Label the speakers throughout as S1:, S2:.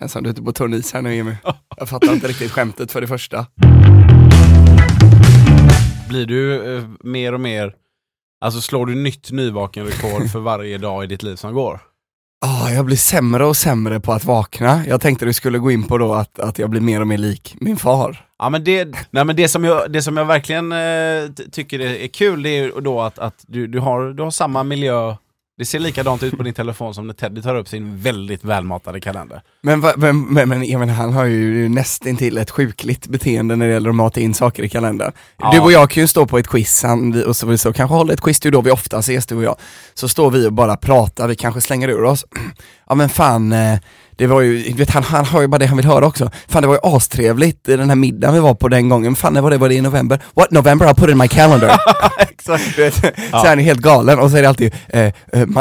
S1: Ensam du är ute på torn is här nu Jimmy. Jag fattar inte riktigt skämtet för det första.
S2: Blir du eh, mer och mer, alltså slår du nytt nyvaken rekord för varje dag i ditt liv som går?
S1: Ah, jag blir sämre och sämre på att vakna. Jag tänkte du skulle gå in på då att, att jag blir mer och mer lik min far.
S2: Ja men det, nej, men det, som, jag, det som jag verkligen eh, ty- tycker är, är kul det är ju då att, att du, du, har, du har samma miljö, det ser likadant ut på din telefon som när Teddy tar upp sin väldigt välmatade kalender.
S1: Men, va- men, men, men Emil, han har ju nästintill ett sjukligt beteende när det gäller att mata in saker i kalendern.
S2: Ja.
S1: Du och jag kan ju stå på ett quiz, han, vi- och så, vi så kanske håller ett quiz, det är ju då vi ofta ses du och jag. Så står vi och bara pratar, vi kanske slänger ur oss. Ja men fan, eh, det var ju, du vet, han, han har ju bara det han vill höra också. Fan det var ju astrevligt i den här middagen vi var på den gången, fan när var det, var det i november? What November? I put it in my calendar.
S2: Exakt.
S1: Du vet, Så han är helt galen och så är det alltid eh, eh,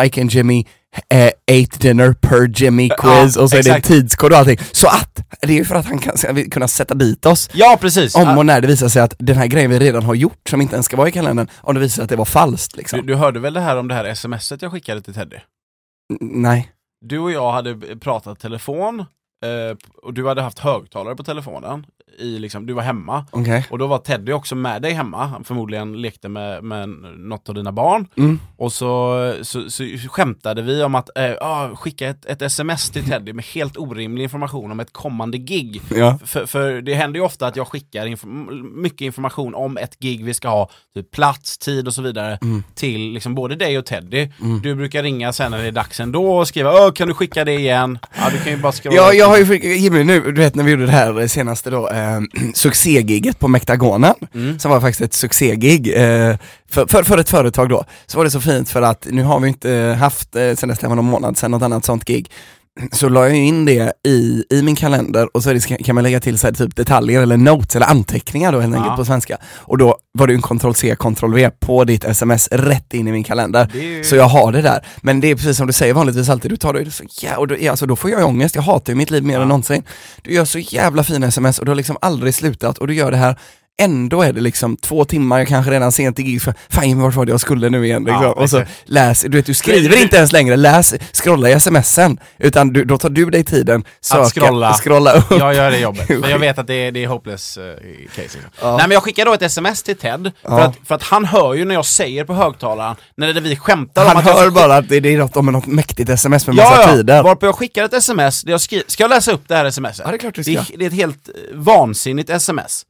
S1: Mike and Jimmy eh, eight dinner per Jimmy quiz
S2: Ja,
S1: och så är det en
S2: exakt.
S1: tidskod och allting. Så att, det är ju för att han kan ska vi kunna sätta dit oss
S2: Ja precis!
S1: om och när det visar sig att den här grejen vi redan har gjort som inte ens ska vara i kalendern, om det visar sig att det var falskt liksom.
S2: du, du hörde väl det här om det här smset jag skickade till Teddy?
S1: N- Nej.
S2: Du och jag hade b- pratat telefon eh, och du hade haft högtalare på telefonen, i, liksom, du var hemma.
S1: Okej.
S2: Och då var Teddy också med dig hemma, han förmodligen lekte med, med något av dina barn.
S1: Mm.
S2: Och så, så, så skämtade vi om att eh, ah, skicka ett, ett sms till Teddy med helt orimlig information om ett kommande gig.
S1: Ja.
S2: För, för det händer ju ofta att jag skickar inf- mycket information om ett gig vi ska ha, typ plats, tid och så vidare,
S1: Mm.
S2: till liksom både dig och Teddy. Du brukar ringa sen när det är dags ändå och skriva "Åh, kan du skicka det igen? Ja, du kan ju bara skriva
S1: Ja, jag har ju, fick- Jimmy nu, du vet när vi gjorde det här eh, senaste då, eh, succégiget på Mektagonen, som var faktiskt ett succégig eh, för, för, för ett företag då, så var det så fint för att nu har vi inte eh, haft, eh, sen nästan var någon månad sedan, något annat sånt gig, så la jag ju in det i, i min kalender och så är det, ska- kan man lägga till så här, typ detaljer eller notes eller anteckningar då helt
S2: Ja.
S1: enkelt på svenska. Och då var det ju en ctrl-c, ctrl-v på ditt sms rätt in i min kalender.
S2: Det är ju-
S1: Så jag har det där. Men det är precis som du säger vanligtvis alltid, du tar det så jävla, och då, ja, alltså, då får jag ju ångest, jag hatar ju mitt liv mer än någonsin. Du gör så jävla fina sms och du har liksom aldrig slutat och du gör det här Ändå är det liksom två timmar, jag kanske redan sent i gig, så, fan Jimmy, vart var det jag skulle nu igen? Liksom.
S2: Ja,
S1: och så
S2: exakt.
S1: läs, du vet du skriver inte ens längre, läs, scrolla i smsen, utan du, då tar du dig tiden, söka,
S2: scrolla.
S1: scrolla upp.
S2: Jag gör det jobbet, för jag vet att det är, det är hopeless eh, case. liksom. Nej men jag skickar då ett sms till Ted, för, att, för att han hör ju när jag säger på högtalaren, när det, vi skämtar om
S1: Han
S2: att jag
S1: hör
S2: ska-
S1: bara att det, det är något om något mäktigt sms med massa
S2: Ja, ja,
S1: tider.
S2: varpå jag skickar ett sms där jag skriver, ska jag läsa upp det här smset?
S1: Ja, det är klart du
S2: Det, är, det är ett helt eh, vansinnigt sms.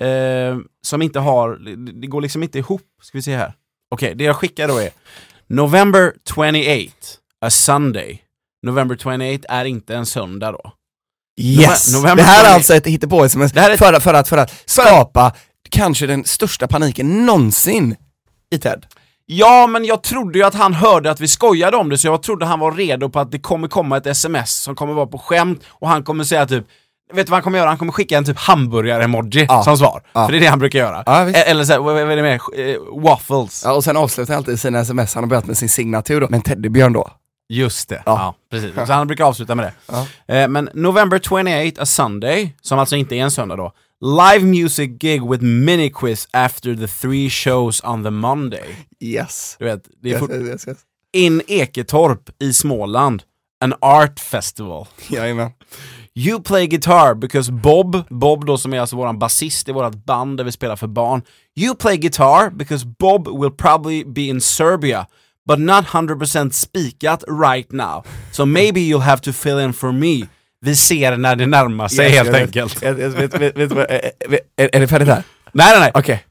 S2: Eh, som inte har, det, det går liksom inte ihop. Ska vi se här. Okej, det jag skickar då är November 28, a Sunday. November 28 är inte en söndag då.
S1: Yes!
S2: November-
S1: det här är
S2: november-
S1: alltså ett hittepå-sms
S2: Det här är ett-
S1: för, att- för, att, för att skapa kanske den största paniken någonsin i TED.
S2: Ja, men jag trodde ju att han hörde att vi skojade om det, så jag trodde han var redo på att det kommer komma ett sms som kommer vara på skämt och han kommer säga typ Vet du vad han kommer göra? Han kommer skicka en typ hamburgare-emoji
S1: Ja.
S2: som svar.
S1: Ja.
S2: För det är det han brukar göra.
S1: Ja, visst.
S2: E- Eller så här, vad vad är det mer? Eh, Waffles.
S1: Ja, och sen avslutar han alltid sina sms, han har börjat med sin signatur då, men Teddybjörn då?
S2: Just det.
S1: Ja.
S2: Ja, precis. Så han brukar avsluta med det.
S1: Ja.
S2: Eh, men November 28, a Sunday, som alltså inte är en söndag då. Live music gig with mini quiz after the three shows on the Monday.
S1: Yes.
S2: Du vet, det är fort-
S1: Yes, yes, yes.
S2: in Eketorp i Småland. An art festival.
S1: Jajamän.
S2: You play guitar because Bob, Bob då som är alltså våran basist i vårat band där vi spelar för barn. You play guitar because Bob will probably be in Serbia, but not 100% spikat right now. So maybe you'll have to fill in for me. Vi ser när det närmar sig helt enkelt.
S1: Yes, yes, vet, vet, vet, du vad, eh, eh, vet, är, är det färdigt där?
S2: Nej, nej, nej.
S1: Okej.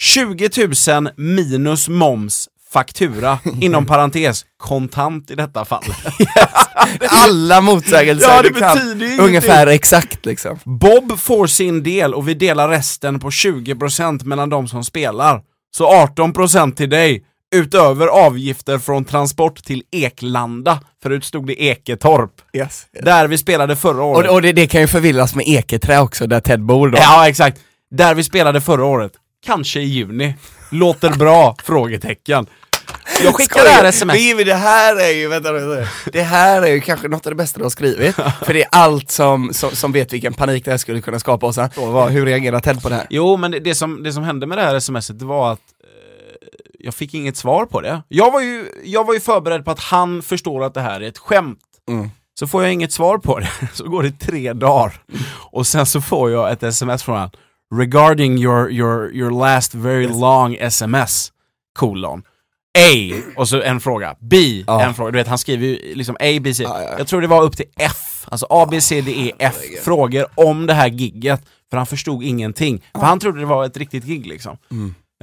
S2: 20 000 minus moms faktura, inom parentes, kontant i detta fall.
S1: Alla motsägelser
S2: Ja, det
S1: du kan,
S2: betyder ju
S1: ungefär exakt liksom.
S2: Bob får sin del och vi delar resten på 20% mellan de som spelar. Så 18% till dig, utöver avgifter från transport till Eklanda. Förut stod det Eketorp,
S1: Yes.
S2: där vi spelade förra
S1: Och,
S2: året.
S1: och det, det kan ju förvillas med Eketrä också, där Ted bor då.
S2: Ja, exakt. Där vi spelade förra året. Kanske i juni. Låter bra? frågetecken. Jag skickar det här sms.
S1: Men Jimmy, det här är ju, vänta, vänta, vänta. det här är ju kanske något av det bästa du har skrivit. För det är allt som, som, som vet vilken panik det här skulle kunna skapa hos honom. Och vad- Hur reagerar Ted på det här?
S2: Jo, men det, det, som, det som hände med det här smset det var att eh, jag fick inget svar på det. Jag var, ju, jag var ju förberedd på att han förstår att det här är ett skämt.
S1: Mm.
S2: Så får jag inget svar på det. Så går det tre dagar. Och sen så får jag ett sms från honom. Regarding your, your, your last very long sms, kolon. A, och så en fråga. B,
S1: Ja.
S2: en fråga. Du vet, han skriver ju liksom A, B, C.
S1: Ja, ja.
S2: Jag tror det var upp till F. Alltså A, B, C, D, E, F frågor om det här gigget. För han förstod ingenting. För han trodde det var ett riktigt gig liksom.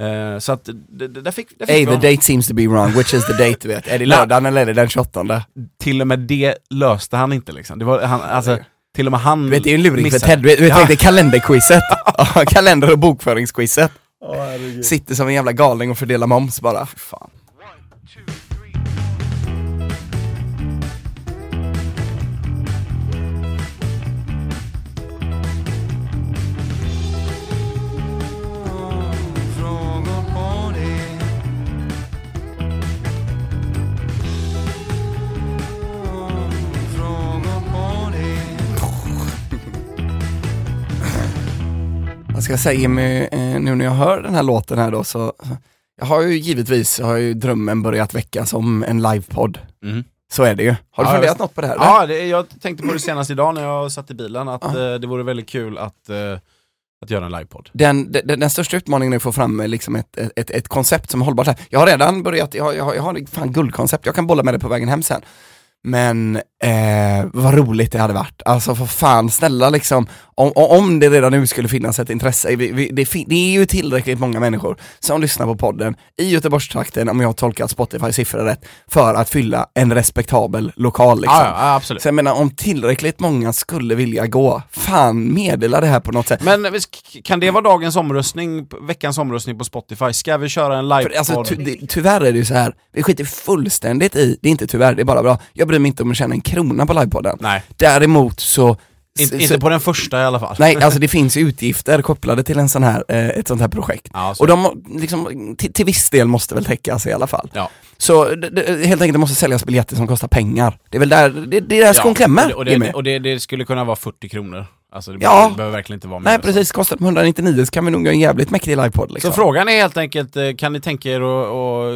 S2: Eh, så att, det, det, där fick, där fick
S1: Hey,
S2: vi
S1: the
S2: honom.
S1: date seems to be wrong, which is the date du vet? Är det lördagen eller är det den 28? Du
S2: till och med det löste han inte liksom. Det var, han, alltså, till och med han
S1: vet det är ju en luring för
S2: missade.
S1: Ted, du vet, du vet
S2: Ja.
S1: tänk dig kalenderquizet. Ja, Kalender och bokföringsquizet. Sitter som en jävla galning och fördelar moms bara.
S2: Fan.
S1: Vad ska jag säga Jimmy, eh, nu när jag hör den här låten här då så, jag har ju givetvis, har ju drömmen börjat väckas om en livepodd.
S2: Mm.
S1: Så är det ju. Har du
S2: Ja,
S1: funderat
S2: visst.
S1: något på det här? eller?
S2: Ja, det, jag tänkte på det senast idag när jag satt i bilen, att eh, det vore väldigt kul att, eh, att göra en livepodd.
S1: den, den, den största utmaningen är att få fram eh, liksom ett, ett, ett koncept som är hållbart. här. Jag har redan börjat, jag har, jag har, jag har fan guldkoncept, jag kan bolla med det på vägen hem sen. Men eh, vad roligt det hade varit. Alltså för fan, snälla liksom, om, om- om det redan nu skulle finnas ett intresse, vi, vi, det, fin- det är ju tillräckligt många människor som lyssnar på podden i Göteborgstrakten, om jag har tolkat Spotify siffror rätt, för att fylla en respektabel lokal. Liksom.
S2: Ja, ja, ja, absolut.
S1: Så jag menar, om tillräckligt många skulle vilja gå, fan meddela det här på något sätt.
S2: Men visst, kan det vara dagens omröstning, veckans omröstning på Spotify? Ska vi köra en livepodd?
S1: För, alltså, ty, det, tyvärr är det ju så här. vi skiter fullständigt i, det är inte tyvärr, det är bara bra. Jag bryr mig inte om att tjäna en krona på livepodden.
S2: Nej,
S1: Däremot så...
S2: inte,
S1: så,
S2: inte på den första i alla fall.
S1: Nej, alltså det finns ju utgifter kopplade till en sån här, eh, ett sånt här projekt.
S2: Ja, alltså. så.
S1: Och de må- liksom, till, till viss del måste väl täckas i alla fall.
S2: ja.
S1: Så d- d- helt enkelt det måste säljas biljetter som kostar pengar. Det är väl där, det, det är där skon klämmer,
S2: Och,
S1: Jimmy.
S2: det, och det, det skulle kunna vara 40 kronor. Alltså det,
S1: Ja.
S2: det behöver verkligen inte vara mer.
S1: Nej precis, kostar det 199 så kan vi nog göra en jävligt mäktig livepodd liksom.
S2: Så frågan är helt enkelt, eh, kan ni tänka er att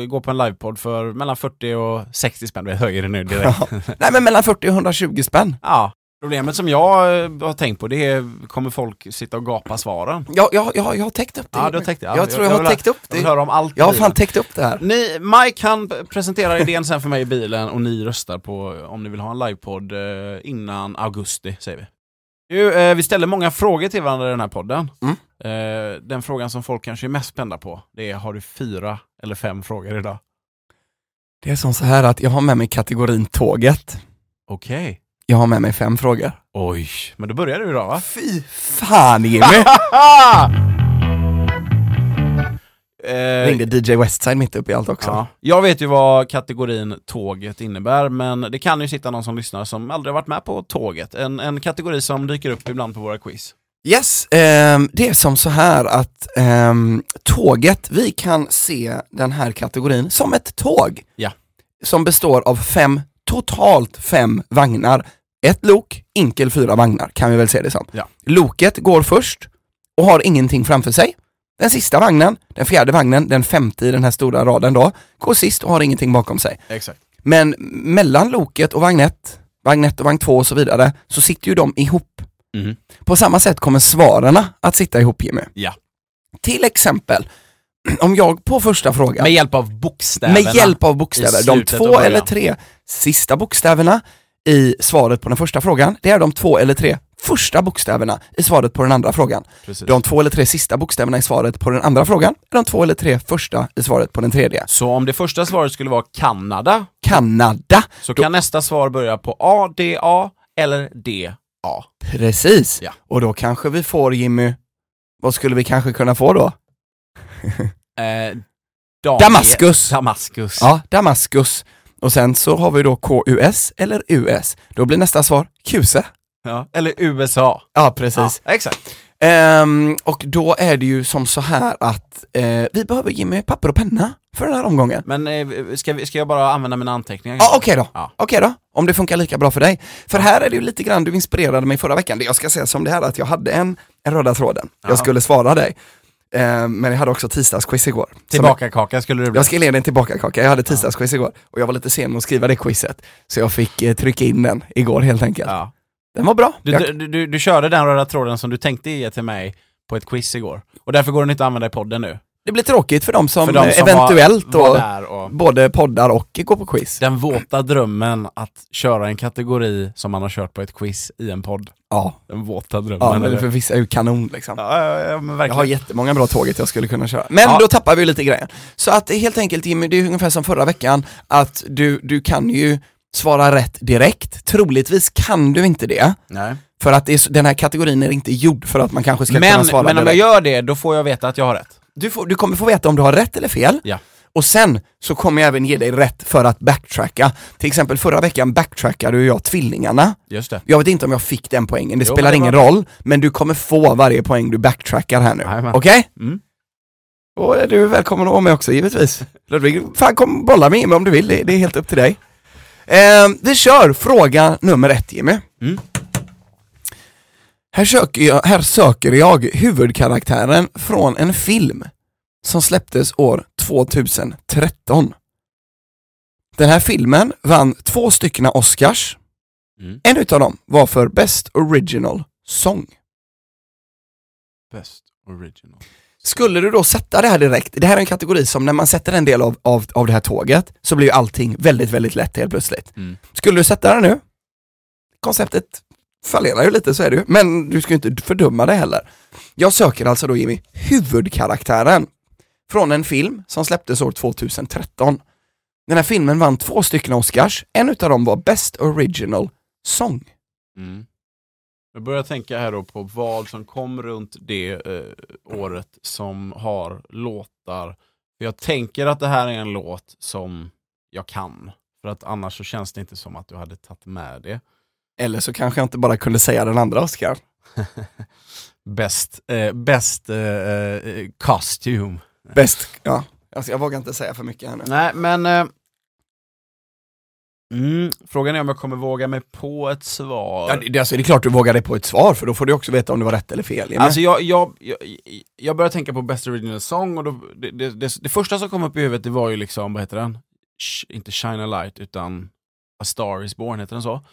S2: att gå på en livepodd för mellan 40 och 60 spänn? Vi höjer det nu direkt.
S1: Ja. Nej men mellan 40 och 120 spänn.
S2: Ja. Problemet som jag eh, har tänkt på det är, kommer folk sitta och gapa svaren?
S1: Jag, jag, jag, jag har täckt upp det.
S2: Ja, du har
S1: Jimmy.
S2: täckt det. Ja,
S1: jag tror jag,
S2: vill
S1: har
S2: ha-
S1: täckt upp
S2: Jag vill
S1: det.
S2: höra om allt.
S1: Jag har
S2: i
S1: fan
S2: bilen.
S1: täckt upp det här.
S2: ni, Mike han p- presenterar idén sen för mig i bilen och ni röstar på om ni vill ha en livepodd eh, innan augusti, säger vi. Nu, eh, vi ställer många frågor till varandra i den här podden.
S1: Mm.
S2: Eh, den frågan som folk kanske är mest spända på, det är har du fyra eller fem frågor idag?
S1: Det är som så här att jag har med mig kategorin tåget.
S2: Okej.
S1: Jag har med mig fem frågor.
S2: Oj, men då börjar du idag va?
S1: Fy fan Jimmy!
S2: Eh,
S1: Ringde DJ Westside mitt uppe i allt också.
S2: ja. Jag vet ju vad kategorin tåget innebär, men det kan ju sitta någon som lyssnar som aldrig har varit med på tåget. En, en kategori som dyker upp ibland på våra quiz.
S1: Yes, ehm, det är som så här att ehm, tåget, vi kan se den här kategorin som ett tåg.
S2: Ja.
S1: Som består av fem, totalt fem vagnar. Ett lok, inkel fyra vagnar kan vi väl se det som.
S2: Ja.
S1: Loket går först och har ingenting framför sig. Den sista vagnen, den fjärde vagnen, den femte i den här stora raden då, går sist och har ingenting bakom sig.
S2: Exakt.
S1: Men mellan loket och vagn 1, vagn 1 och vagn 2 och så vidare, så sitter ju de ihop.
S2: Mm.
S1: På samma sätt kommer svararna att sitta ihop Jimmy.
S2: Ja.
S1: Till exempel, om jag på första frågan,
S2: Med hjälp av bokstäverna.
S1: med hjälp av bokstäver, de
S2: i slutet
S1: två
S2: och början.
S1: eller tre sista bokstäverna i svaret på den första frågan, det är de två eller tre första bokstäverna i svaret på den andra frågan.
S2: Precis.
S1: De två eller tre sista bokstäverna i svaret på den andra frågan, är de två eller tre första i svaret på den tredje.
S2: Så om det första svaret skulle vara Kanada,
S1: Kanada,
S2: så kan nästa svar börja på A, D, A eller D, A.
S1: Precis.
S2: Ja.
S1: Och då kanske vi får Jimmy, vad skulle vi kanske kunna få då?
S2: Eh, Daniel-
S1: Damaskus.
S2: Damaskus.
S1: Ja, Damaskus. Och sen så har vi då KUS eller US. Då blir nästa svar E. QSE.
S2: Ja. Eller USA.
S1: Ja, precis.
S2: Ja, exakt.
S1: Ehm, och då är det ju som så här att eh, vi behöver Jimmy papper och penna för den här omgången.
S2: Men eh, ska, vi, ska jag bara använda mina anteckningar?
S1: Ja, okej då.
S2: Ja.
S1: Okej då, om det funkar lika bra för dig. För här är det ju lite grann, du inspirerade mig förra veckan. Det Jag ska säga som det här att jag hade en, en röda tråden.
S2: Ja.
S1: Jag skulle svara dig. Eh, men jag hade också tisdagsquiz igår. Som
S2: Tillbaka kaka skulle det
S1: jag-
S2: bli.
S1: Jag ska ge en tillbaka kaka. jag hade tisdagsquiz igår och jag var lite sen med att skriva det quizet. Så jag fick eh, trycka in den igår helt enkelt.
S2: Ja.
S1: Den var bra.
S2: Du,
S1: jag,
S2: du, du, du körde den röda tråden som du tänkte ge till mig på ett quiz igår. Och därför går den inte att använda i podden nu.
S1: det blir tråkigt för dem som,
S2: För de
S1: eh,
S2: som
S1: eventuellt
S2: var, var
S1: då,
S2: där och...
S1: både poddar och går på quiz.
S2: Den våta drömmen att köra en kategori som man har kört på ett quiz i en podd.
S1: Ja,
S2: Den våta drömmen.
S1: ja
S2: eller?
S1: men för vissa är ju kanon liksom.
S2: ja, ja, ja, men
S1: Jag
S2: verkligen.
S1: har jättemånga bra tåget jag skulle kunna köra. Men
S2: Ja.
S1: då tappar vi lite grejer. Så att det är helt enkelt Jimmy, det är ungefär som förra veckan, att du, du kan ju svara rätt direkt. Troligtvis kan du inte det,
S2: Nej.
S1: för att det är, så- den här kategorin är inte gjord för att man kanske ska kunna
S2: Men,
S1: svara
S2: men om jag
S1: direkt.
S2: gör det, då får jag veta att jag har rätt.
S1: Du, får, du kommer få veta om du har rätt eller fel.
S2: Ja.
S1: Och sen så kommer jag även ge dig rätt för att backtracka. Till exempel förra veckan backtrackade ju jag tvillingarna.
S2: Just det.
S1: Jag vet inte om jag fick den poängen, det
S2: Jo,
S1: spelar
S2: men det
S1: ingen roll, men du kommer få varje poäng du backtrackar här nu.
S2: Jajamän.
S1: Okej?
S2: Mm.
S1: Och är du är välkommen att vara med också givetvis. Ludvig, fan kom bolla med mig om du vill, det, det är helt upp till dig. Eh, vi kör fråga nummer ett Jimmy.
S2: Mm.
S1: Här, söker jag, här söker jag huvudkaraktären från en film som släpptes år 2013. Den här filmen vann två stycken Oscars.
S2: Mm.
S1: En utav dem var för Best Original Song.
S2: Best original.
S1: Skulle du då sätta det här direkt, det här är en kategori som när man sätter en del av, av, av det här tåget så blir ju allting väldigt, väldigt lätt helt plötsligt.
S2: Mm.
S1: Skulle du sätta det nu, konceptet fallerar ju lite så är det ju, men du ska ju inte fördöma det heller. Jag söker alltså då Jimmy, huvudkaraktären från en film som släpptes år 2013. Den här filmen vann två stycken Oscars, en utav dem var Best Original Song.
S2: Mm. Jag börjar tänka här då på vad som kom runt det eh, året som har låtar. För jag tänker att det här är en låt som jag kan. För att annars så känns det inte som att du hade tagit med det.
S1: Eller så kanske jag inte bara kunde säga den andra Oscar.
S2: Bäst eh, best, eh, eh, costume.
S1: Best, ja. Alltså jag vågar inte säga för mycket här nu.
S2: Nej, men... Eh, mm, frågan är om jag kommer våga mig på ett svar.
S1: Ja, det, det- alltså, det är klart du vågar dig på ett svar, för då får du också veta om det var rätt eller fel. Jimmy.
S2: Alltså jag, jag, jag, jag började tänka på Best Original Song och då, det, det, det, det första som kom upp i huvudet det var ju liksom, vad heter den? Sh, inte Shine a Light utan A Star Is Born, heter den så?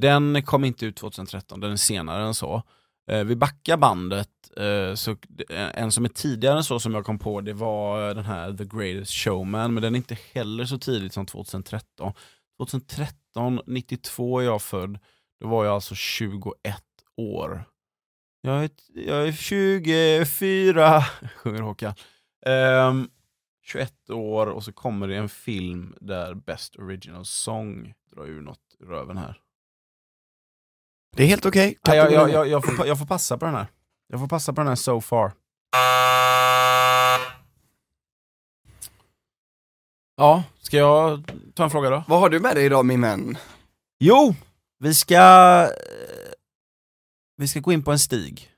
S2: Den kom inte ut 2013, den är senare än så. Eh, vi backar bandet, eh, så, en som är tidigare än så som jag kom på det var eh, den här The Greatest Showman, men den är inte heller så tidigt som 2013. 2013, 92 är jag född, då var jag alltså 21 år. Jag är, jag är 24, sjunger Håkan. Ehm, 21 år och så kommer det en film där Best Original Song drar ur något ur röven här.
S1: det är helt okej.
S2: Nej, jag, jag, jag, jag, får, pa- jag får passa på den här. Jag får passa på den här so far. Ja, ska jag ta en fråga då?
S1: Vad har du med dig idag min vän?
S2: Jo, vi ska... eh, Vi ska gå in på en stig.
S1: eh,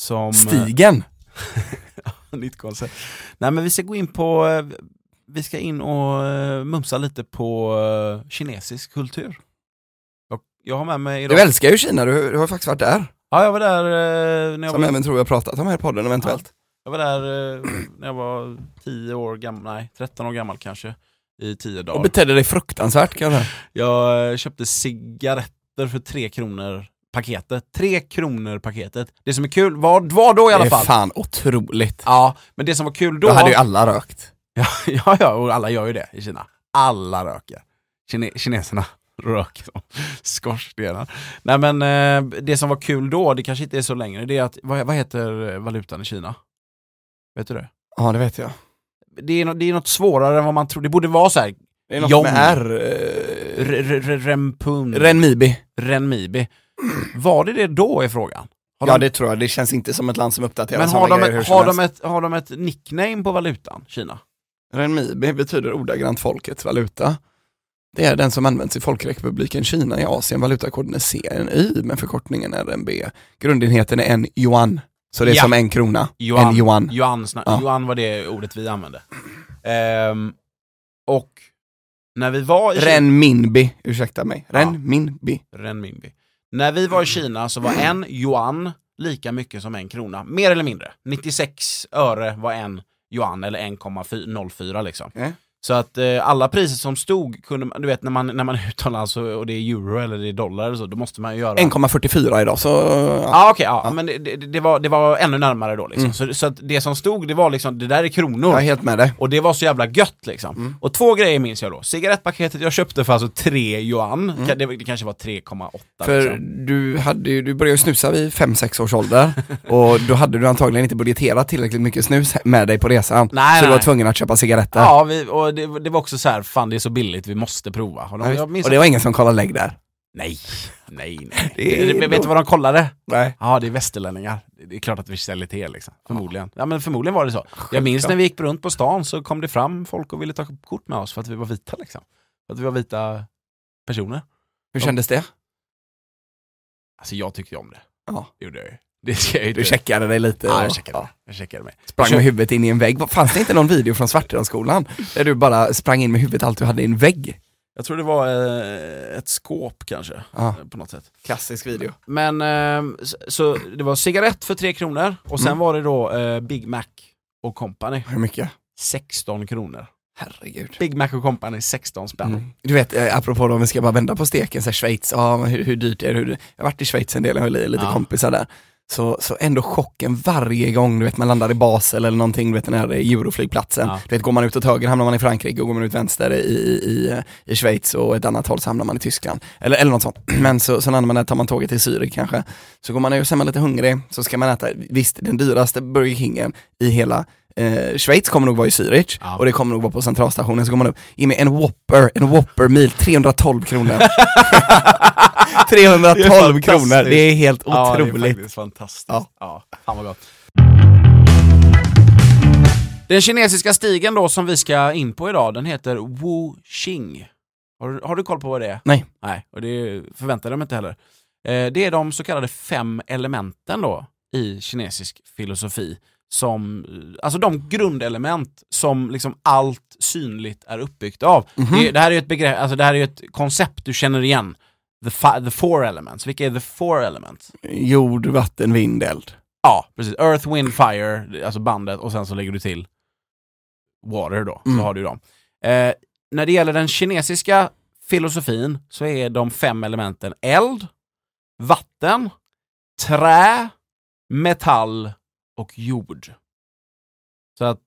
S2: Som...
S1: Stigen.
S2: Nytt koncept. Nej men vi ska gå in på, eh, vi ska in och eh, mumsa lite på eh, kinesisk kultur. Jag, jag har med mig
S1: Du
S2: idag...
S1: älskar ju Kina, du, du har faktiskt varit där.
S2: Ja, jag var där eh, när jag
S1: Som
S2: var,
S1: även tror jag pratat om här i podden eventuellt.
S2: jag var där eh, när jag var 10 år gammal, nej 13 år gammal kanske, i 10
S1: Och
S2: dagar.
S1: betedde dig fruktansvärt kanske.
S2: Jag eh, köpte cigaretter för 3 kronor paketet. 3 kronor paketet. Det som är kul, var, var då i alla
S1: det är
S2: fall.
S1: fan otroligt.
S2: Ja, men det som var kul då...
S1: Då hade ju alla rökt.
S2: Ja, ja, ja, och alla gör ju det i Kina. Alla röker. Kine kineserna röker som skorstenar. Nej men eh, det som var kul då, det kanske inte är så längre, det är att, vad, vad heter valutan i Kina? Vet du det?
S1: Ja det vet jag.
S2: Det är, nå- det är något svårare än vad man tror, det borde vara såhär,
S1: Det är något
S2: Jong.
S1: med R. Eh,
S2: renpun,
S1: Renmibi.
S2: renmibi. Var det det då är frågan? Har de-
S1: Ja det tror jag, det känns inte som ett land som uppdaterar
S2: men har
S1: sådana
S2: de,
S1: grejer hur
S2: ett,
S1: som
S2: har, de
S1: helst.
S2: ett, har de ett nickname på valutan, Kina?
S1: Renmibi betyder ordagrant folkets valuta. Det är den som används i Folkrepubliken Kina i Asien. Valutakoden är CNY, men förkortningen är RMB. Grundenheten är en yuan, så det är
S2: Ja.
S1: som en krona.
S2: Yuan.
S1: En yuan.
S2: Johan, sna-
S1: Ja.
S2: Johan var det ordet vi använde. Ehm, och när vi var i Kina,
S1: Renminbi, ursäkta mig.
S2: Ja.
S1: Renminbi.
S2: renminbi. När vi var i Kina så var en yuan lika mycket som en krona, mer eller mindre. 96 öre var en yuan eller 1,04 liksom.
S1: Mm.
S2: Så att eh, alla priser som stod kunde man, du vet när man, när man är utomlands och, och det är euro eller det är dollar eller så, då måste man ju göra...
S1: 1,44 idag så...
S2: Ja ah, okej, ja. men det, det, det, var, det var ännu närmare då liksom. Så, så att det som stod, det var liksom, det där är kronor.
S1: Jag är helt med dig.
S2: Och det var så jävla gött liksom.
S1: Mm.
S2: Och två grejer minns jag då. Cigarettpaketet jag köpte för alltså 3 yuan, Ka- det, det kanske var 3,8
S1: Mm. För
S2: liksom.
S1: du, hade, ju- du började ju snusa vid 5-6 års ålder och då hade du antagligen inte budgeterat tillräckligt mycket snus med dig på resan.
S2: Nej,
S1: så du
S2: nej.
S1: var tvungen att köpa cigaretter.
S2: Ja, vi, och det, det var också så här, fan det är så billigt, vi måste prova. Och de,
S1: Ja,
S2: jag minns
S1: och det var ingen som kollade lägg där.
S2: Nej, nej,
S1: Det
S2: nej.
S1: är
S2: Det, det,
S1: då-
S2: vet du vad de kollade?
S1: Nej.
S2: Ja, det är västerlänningar. Det- Det är klart att vi säljer till er liksom. Förmodligen. Ja, men förmodligen var det så. Jag minns när vi gick runt på stan så kom det fram folk och ville ta kort med oss för att vi var vita liksom. För att vi var vita personer.
S1: Hur kändes det?
S2: Alltså jag tyckte ju om det.
S1: Ja.
S2: Det gjorde jag ju. Det ska jag ju
S1: Du
S2: inte-
S1: checkade dig lite?
S2: Ja, jag
S1: och-
S2: checkade, mig. jag checkade mig.
S1: Sprang
S2: Kör-
S1: med huvudet in i en vägg. Fanns det inte någon video från Svartedalsskolan? Där du bara sprang in med huvudet allt du hade i en vägg?
S2: Jag tror det var eh, ett skåp kanske,
S1: Ja.
S2: eh, på något sätt.
S1: Klassisk video.
S2: Men, eh, s- så det var cigarett för 3 kronor och sen
S1: Mm.
S2: var det då eh, Big Mac och Company,
S1: Hur mycket?
S2: 16 kronor.
S1: Herregud.
S2: Big Mac och Company, 16 spänn.
S1: Mm. Du vet, eh, apropå då, om vi ska bara vända på steken, så här, Schweiz, ja, men hur, hur dyrt är det? Hur, dy- jag har varit i Schweiz en del, jag har li- lite
S2: Ja.
S1: kompisar där. Så, så ändå chocken varje gång du vet, man landar i Basel eller någonting, du vet den här eh, euroflygplatsen.
S2: Ja.
S1: Du vet, går man ut åt höger hamnar man i Frankrike och går man ut vänster i, i, i, eh, i Schweiz och ett annat håll så hamnar man i Tyskland. Eller, eller något sånt. Men så, så landar man där, tar man tåget till Zürich kanske. Så går man ut, så är man lite hungrig, så ska man äta, visst den dyraste Burger Kingen i hela eh, Schweiz kommer nog vara i Zürich
S2: Ja.
S1: och det kommer nog vara på centralstationen, så går man upp, in med en Whopper, en Whopper mil, 312 kronor. 312 kronor, det är helt
S2: Ja, det är
S1: otroligt.
S2: faktiskt fantastiskt.
S1: Ja.
S2: Ja. fan vad gott. Den kinesiska stigen då som vi ska in på idag, den heter Wuxing. Har du, har du koll på vad det är?
S1: Nej.
S2: Nej, och det förväntar jag mig inte heller. Eh, det är de så kallade fem elementen då i kinesisk filosofi. Som, eh, alltså de grundelement som liksom allt synligt är uppbyggt av. Det, det här är ju ett begrepp, alltså det här är ju ett koncept du känner igen. The, fi- the four elements. Vilka är the four elements?
S1: Jord, vatten, vind, eld.
S2: Ja, precis. Earth, Wind, Fire, alltså bandet, och sen så lägger du till Water då,
S1: Mm.
S2: så har du dem. Eh, när det gäller den kinesiska filosofin så är de fem elementen eld, vatten, trä, metall och jord. Så att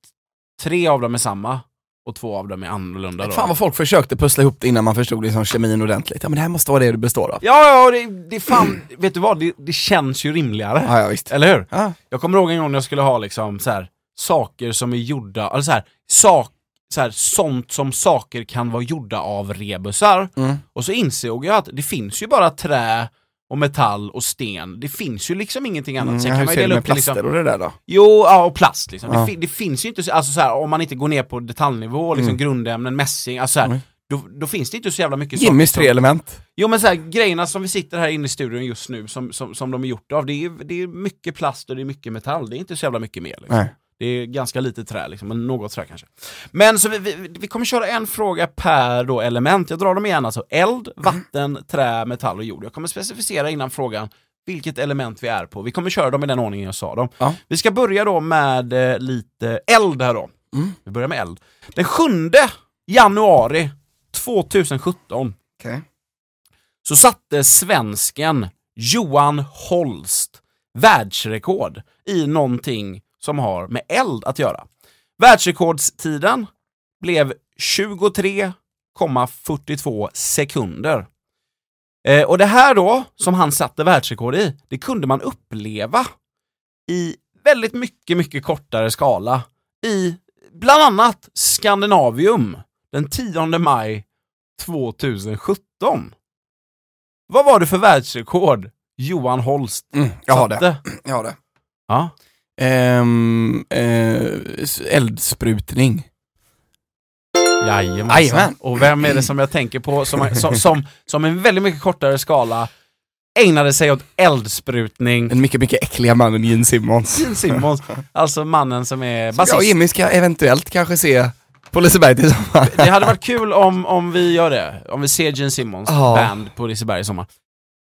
S2: tre av dem är samma och två av dem är annorlunda. Då.
S1: Fan vad folk försökte pussla ihop det innan man förstod liksom kemin ordentligt. Ja men det här måste vara det du består av.
S2: Ja, ja, det, det är fan, vet du vad, det, det känns ju rimligare.
S1: Ja, ja visst.
S2: Eller hur?
S1: Ja.
S2: Jag kommer ihåg en gång när jag skulle ha liksom så här, saker som är gjorda, eller så här, sak, så här, sånt som saker kan vara gjorda av rebusar.
S1: Mm.
S2: Och så insåg jag att det finns ju bara trä och metall och sten. Det finns ju liksom ingenting annat.
S1: Mm,
S2: Sen kan
S1: hur
S2: man ju
S1: ser det
S2: dela
S1: med
S2: upp det
S1: plaster
S2: liksom.
S1: och det där då?
S2: Jo, ja, och plast liksom.
S1: Ja.
S2: Det, fi- det finns ju inte, så- alltså så här, om man inte går ner på detaljnivå, liksom grundämnen, mässing, alltså så här,
S1: Mm.
S2: då, då finns det inte så jävla mycket
S1: Jimmys
S2: saker som-
S1: tre element.
S2: Jo men så här, grejerna som vi sitter här inne i studion just nu, som, som, som de är gjorda av, det är, det är mycket plast och det är mycket metall. Det är inte så jävla mycket mer. Liksom.
S1: Nej.
S2: Det är ganska lite trä, liksom, men något trä kanske. Men så vi, vi, vi kommer köra en fråga per då element. Jag drar dem igen alltså.
S1: Mm.
S2: Eld, vatten, trä, metall och jord. Jag kommer specificera innan frågan vilket element vi är på. Vi kommer köra dem i den ordningen jag sa dem.
S1: Ja.
S2: Vi ska börja då med eh, lite eld här då.
S1: Mm.
S2: Vi börjar med eld. Den 7 januari 2017
S1: Okej.
S2: så satte svensken Johan Holst världsrekord i någonting som har med eld att göra. Världsrekordstiden blev 23,42 sekunder. Eh, och det här då, som han satte världsrekord i, det kunde man uppleva i väldigt mycket, mycket kortare skala i bland annat Skandinavium den 10 maj 2017. Vad var det för världsrekord Johan Holst
S1: Mm, jag har det.
S2: satte?
S1: Jag har det.
S2: Ja.
S1: Ehm, eh, s- eldsprutning. Jajamän.
S2: Jajamensan. Och vem är det som jag tänker på som, som, som, som en väldigt mycket kortare skala ägnade sig åt eldsprutning?
S1: Den mycket, mycket äckliga mannen Gene Simmons.
S2: Gene Simmons, alltså mannen som är
S1: Jag och
S2: basist.
S1: Jimmy ska eventuellt kanske se på Liseberg tillsammans.
S2: Det hade varit kul om, om vi gör det, om vi ser Gene Simmons
S1: Ja.
S2: band på Liseberg i sommar.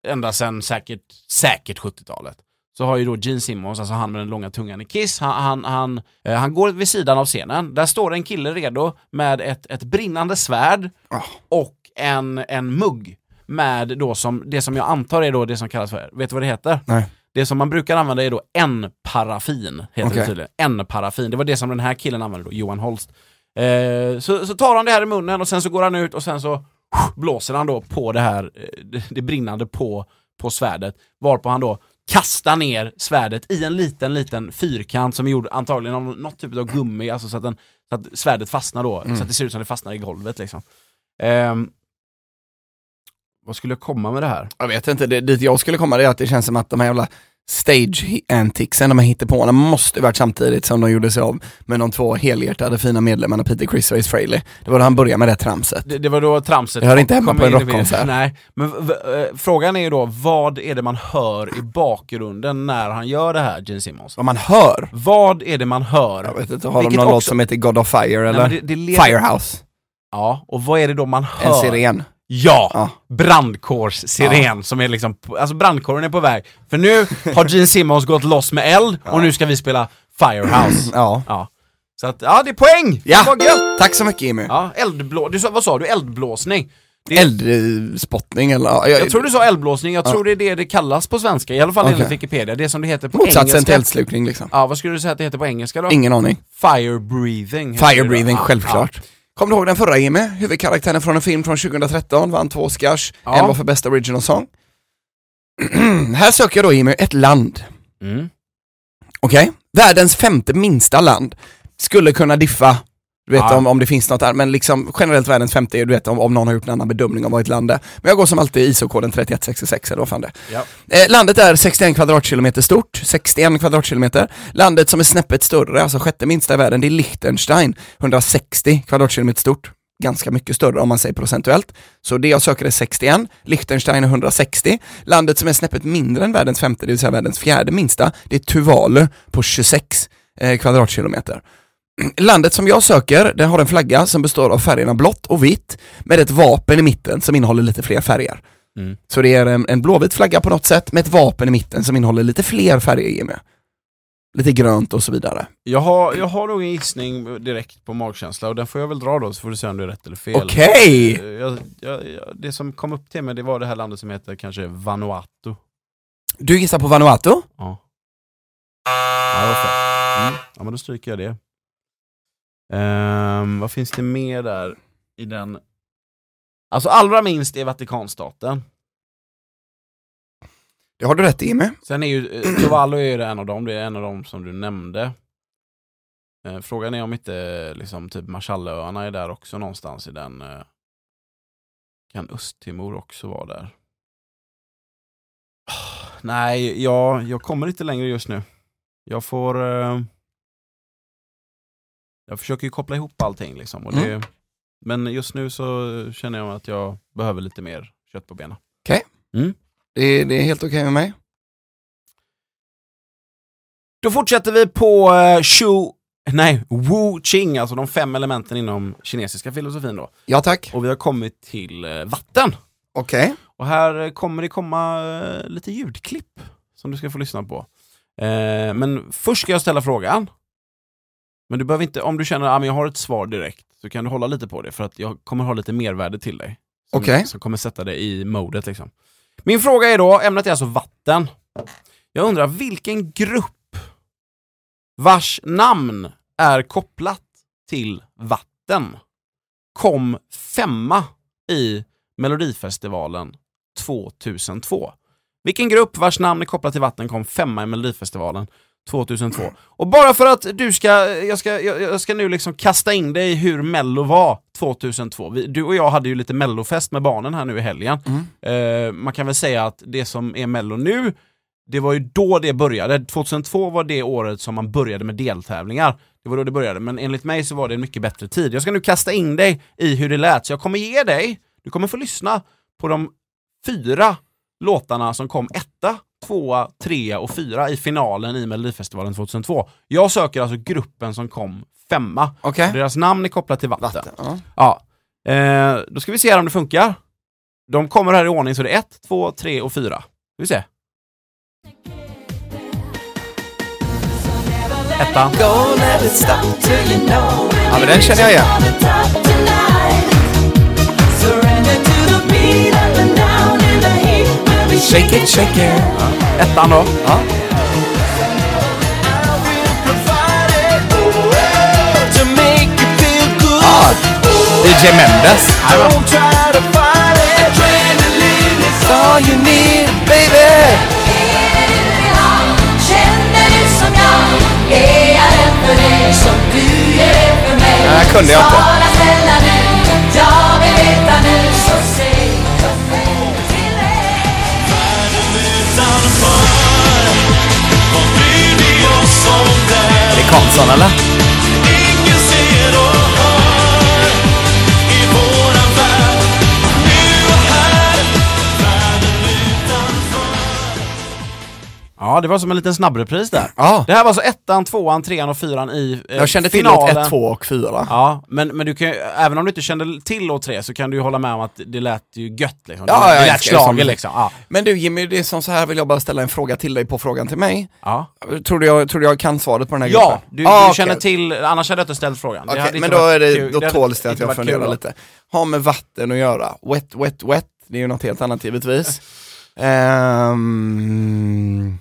S2: Ända sedan säkert, säkert 70-talet. så har ju då Gene Simmons, alltså han med den långa tungan i Kiss, han, han, han, eh, han går vid sidan av scenen. Där står en kille redo med ett, ett brinnande svärd
S1: Ah.
S2: och en, en mugg med då som, det som jag antar är då det som kallas för, vet du vad det heter?
S1: Nej.
S2: Det som man brukar använda är då en paraffin heter det
S1: Okej.
S2: tydligen. En paraffin Det var det som den här killen använde då, Johan Holst. Eh, så, så tar han det här i munnen och sen så går han ut och sen så blåser han då på det här, eh, det- det brinnande på, på svärdet. Varpå han då kastar ner svärdet i en liten, liten fyrkant som är gjord antagligen av något typ av gummi, alltså så att, den, så att svärdet fastnar då, så att det ser ut som det fastnar i golvet liksom. Ehm, vad skulle jag komma med det här?
S1: Jag vet inte, det, dit jag skulle komma det är att det känns som att de här jävla stage anticsen, de här hittepåerna måste varit samtidigt som de gjorde sig av med de två helhjärtade fina medlemmarna Peter Criss och Ace Frehley. Det var då han började med det tramset.
S2: Det, det var då tramset
S1: Det hör inte hemma
S2: kom
S1: på en
S2: in i bilden.
S1: rockkonsert.
S2: Nej, men v- v- eh, frågan är ju då, vad är det man hör i bakgrunden när han gör det här, Gene Simmons?
S1: Vad man hör,
S2: Vad är det man hör?
S1: jag vet inte, har de
S2: Vilket
S1: någon låt
S2: också-
S1: som heter God of Fire eller?
S2: men det, det leder...
S1: Firehouse,
S2: Ja, och vad är det då man hör?
S1: en siren.
S2: Ja!
S1: Ja.
S2: Brandkårssiren som är liksom, alltså brandkåren är på väg. För nu har Gene Simmons gått loss med eld och nu ska vi spela Firehouse.
S1: Ja.
S2: Ja. Så att, ja det är poäng!
S1: Mm. Ja.
S2: Vad gött!
S1: Tack så mycket Jimmy.
S2: Ja, eldblå... Du, sa- vad sa du? Eldblåsning? Det-
S1: Eldrespottning eller? ja,
S2: Jag tror du sa eldblåsning, jag tror det är det det kallas på svenska, i alla fall
S1: Okej.
S2: enligt Wikipedia. Det som det heter på
S1: Motsatsen till
S2: engelska.
S1: eldslukning liksom.
S2: Ja, vad skulle du säga att det heter på engelska då?
S1: Ingen aning.
S2: Fire breathing. heter det
S1: Fire
S2: då.
S1: breathing,
S2: Ja,
S1: självklart.
S2: ja.
S1: Kommer du ihåg den förra Jimmy? Huvudkaraktären från en film från 2013, vann två Oscars,
S2: Ja.
S1: en var för bästa original song. Här söker jag då Jimmy ett land,
S2: Mm.
S1: okej? Världens femte minsta land. Skulle kunna diffa, du vet
S2: Ja.
S1: om, om det finns något där, men liksom generellt världens femte, är, du vet om, om någon har gjort en annan bedömning av vad ett land är. Men jag går som alltid ISO-koden 3166 eller vad fan det är.
S2: Ja.
S1: Eh, landet är 61 kvadratkilometer stort, 61 kvadratkilometer. Landet som är snäppet större, alltså sjätte minsta i världen, det är Liechtenstein, 160 kvadratkilometer stort. Ganska mycket större om man säger procentuellt. Så det jag söker är 61, Liechtenstein är 160. Landet som är snäppet mindre än världens femte, det vill säga världens fjärde minsta, det är Tuvalu på 26 eh, kvadratkilometer. Landet som jag söker, det har en flagga som består av färgerna blått och vitt med ett vapen i mitten som innehåller lite fler färger.
S2: Mm.
S1: Så det är en, en blåvit flagga på något sätt med ett vapen i mitten som innehåller lite fler färger Jimmy. Lite grönt och så vidare.
S2: Jag, har, jag har nog en gissning direkt på magkänsla och den får jag väl dra då så får du säga om det är rätt eller fel.
S1: Okej!
S2: Eh, Jag, jag, jag, det som kom upp till mig det var det här landet som heter kanske Vanuatu.
S1: Du gissar på Vanuatu?
S2: Ja. Ja, det var fel. Mm. ja men då stryker jag det. Ehm, vad finns det mer där i den? Alltså allra minst är Vatikanstaten.
S1: Det har du rätt i Jimmy.
S2: Sen är ju, eh, Tuvalu är ju det en av dem, det är en av dem som du nämnde. Eh, frågan är om inte eh, liksom, typ Marshallöarna är där också någonstans i den. Eh, kan Östtimor också vara där? Ah, nej, jag, jag kommer inte längre just nu. Jag får... Eh, jag försöker ju koppla ihop allting liksom. Och det, Men just nu så känner jag att jag behöver lite mer kött på benen.
S1: Det, är- det är helt okej med mig.
S2: Då fortsätter vi på eh, Shu, nej, Wu Qing, alltså de fem elementen inom kinesiska filosofin då.
S1: Ja tack.
S2: Och vi har kommit till eh, vatten.
S1: Okej.
S2: Och här eh, kommer det komma eh, lite ljudklipp som du ska få lyssna på. Eh, men först ska jag ställa frågan. Men du behöver inte, om du känner att ah, men jag har ett svar direkt, så kan du hålla lite på det för att jag kommer ha lite mervärde till dig. Som,
S1: Okej.
S2: som kommer sätta dig i modet liksom. Min fråga är då, ämnet är alltså vatten. Jag undrar vilken grupp vars namn är kopplat till vatten kom femma i Melodifestivalen 2002. Vilken grupp vars namn är kopplat till vatten kom femma i Melodifestivalen 2002? Och bara för att du ska, jag ska, jag, jag ska nu liksom kasta in dig i hur Mello var 2002. Vi, du och jag hade ju lite Mellofest med barnen här nu i helgen.
S1: Mm.
S2: Eh, man kan väl säga att det som är Mello nu, det var ju då det började. 2002 var det året som man började med deltävlingar. Det var då det började, men enligt mig så var det en mycket bättre tid. Jag ska nu kasta in dig i hur det lät, så jag kommer ge dig, du kommer få lyssna på de fyra låtarna som kom etta, tvåa, trea och fyra i finalen i Melodifestivalen 2002. Jag söker alltså gruppen som kom femma.
S1: Okej.
S2: Deras namn är kopplat till vatten.
S1: Äh? Vatten. Ja.
S2: Ja. Eh, då ska vi se här om det funkar. De kommer här i ordning, så det är 1, 2, 3 och 4. Ska vi se.
S3: Baby,
S2: Ettan.
S1: Ja men den känner jag igen. Shake it, shake it.
S2: Ettan då.
S1: Ja. Ah, DJ Mendes. All you need, baby. Nej,
S3: Det kunde jag inte.
S1: Det är Karlsson eller?
S2: Ja, det var som en liten snabbrepris där.
S1: Ja.
S2: Det här var alltså ettan, tvåan, trean och fyran i eh,
S1: Jag kände till låt
S2: finalen.
S1: 1, 2 och 4.
S2: Ja, men, men du kan ju, även om du inte kände till låt tre så kan du ju hålla med om att det lät ju gött liksom.
S1: Ja,
S2: det,
S1: jag
S2: det lät
S1: älskar det
S2: schlager
S1: som-
S2: liksom. Ja.
S1: Men du Jimmy, det är som så här vill jag bara ställa en fråga till dig på frågan till mig.
S2: Ja,
S1: Tror du jag, tror du jag kan svaret på den här
S2: ja
S1: gruppen?
S2: du,
S1: Ah,
S2: du
S1: okej.
S2: känner till, annars hade jag inte ställt frågan. Det
S1: Okej,
S2: hade inte
S1: men då,
S2: varit
S1: är det,
S2: kul.
S1: då
S2: hade
S1: tåls det att
S2: inte
S1: jag
S2: varit kul
S1: funderar
S2: då.
S1: lite. Har med vatten att göra. Wet, wet, wet. Det är ju något helt annat givetvis. Ehm,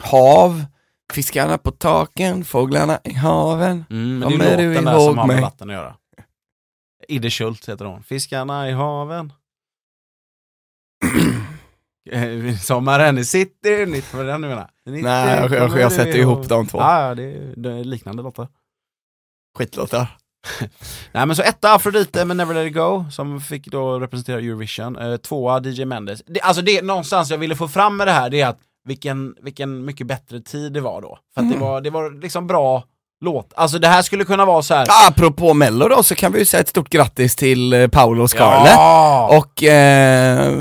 S1: hav. Fiskarna på taken, fåglarna i haven.
S2: Mm, men
S1: Kommer
S2: det är
S1: du
S2: ju låten där
S1: ihåg
S2: som har med
S1: mig?
S2: vatten att göra. Idde Schultz heter hon. Fiskarna i haven. Eh, Sommaren i city, nytt vad är det den du menar?
S1: Nej, jag, jag, jag sätter ihop de två.
S2: Ja, ja, det är, det är liknande låtar.
S1: Skitlåtar.
S2: Nej men så etta Afrodite med Never Let It Go, som fick då representera Eurovision. Eh, tvåa DJ Mendes. Det, alltså det någonstans jag ville få fram med det här, det är att vilken, vilken mycket bättre tid det var då. För att
S1: Mm.
S2: det, var, det var liksom bra låt. Alltså det här skulle kunna vara så här.
S1: Apropå mello då så kan vi ju säga ett stort grattis till eh, Paolo Scarlett.
S2: Ja!
S1: Och eh,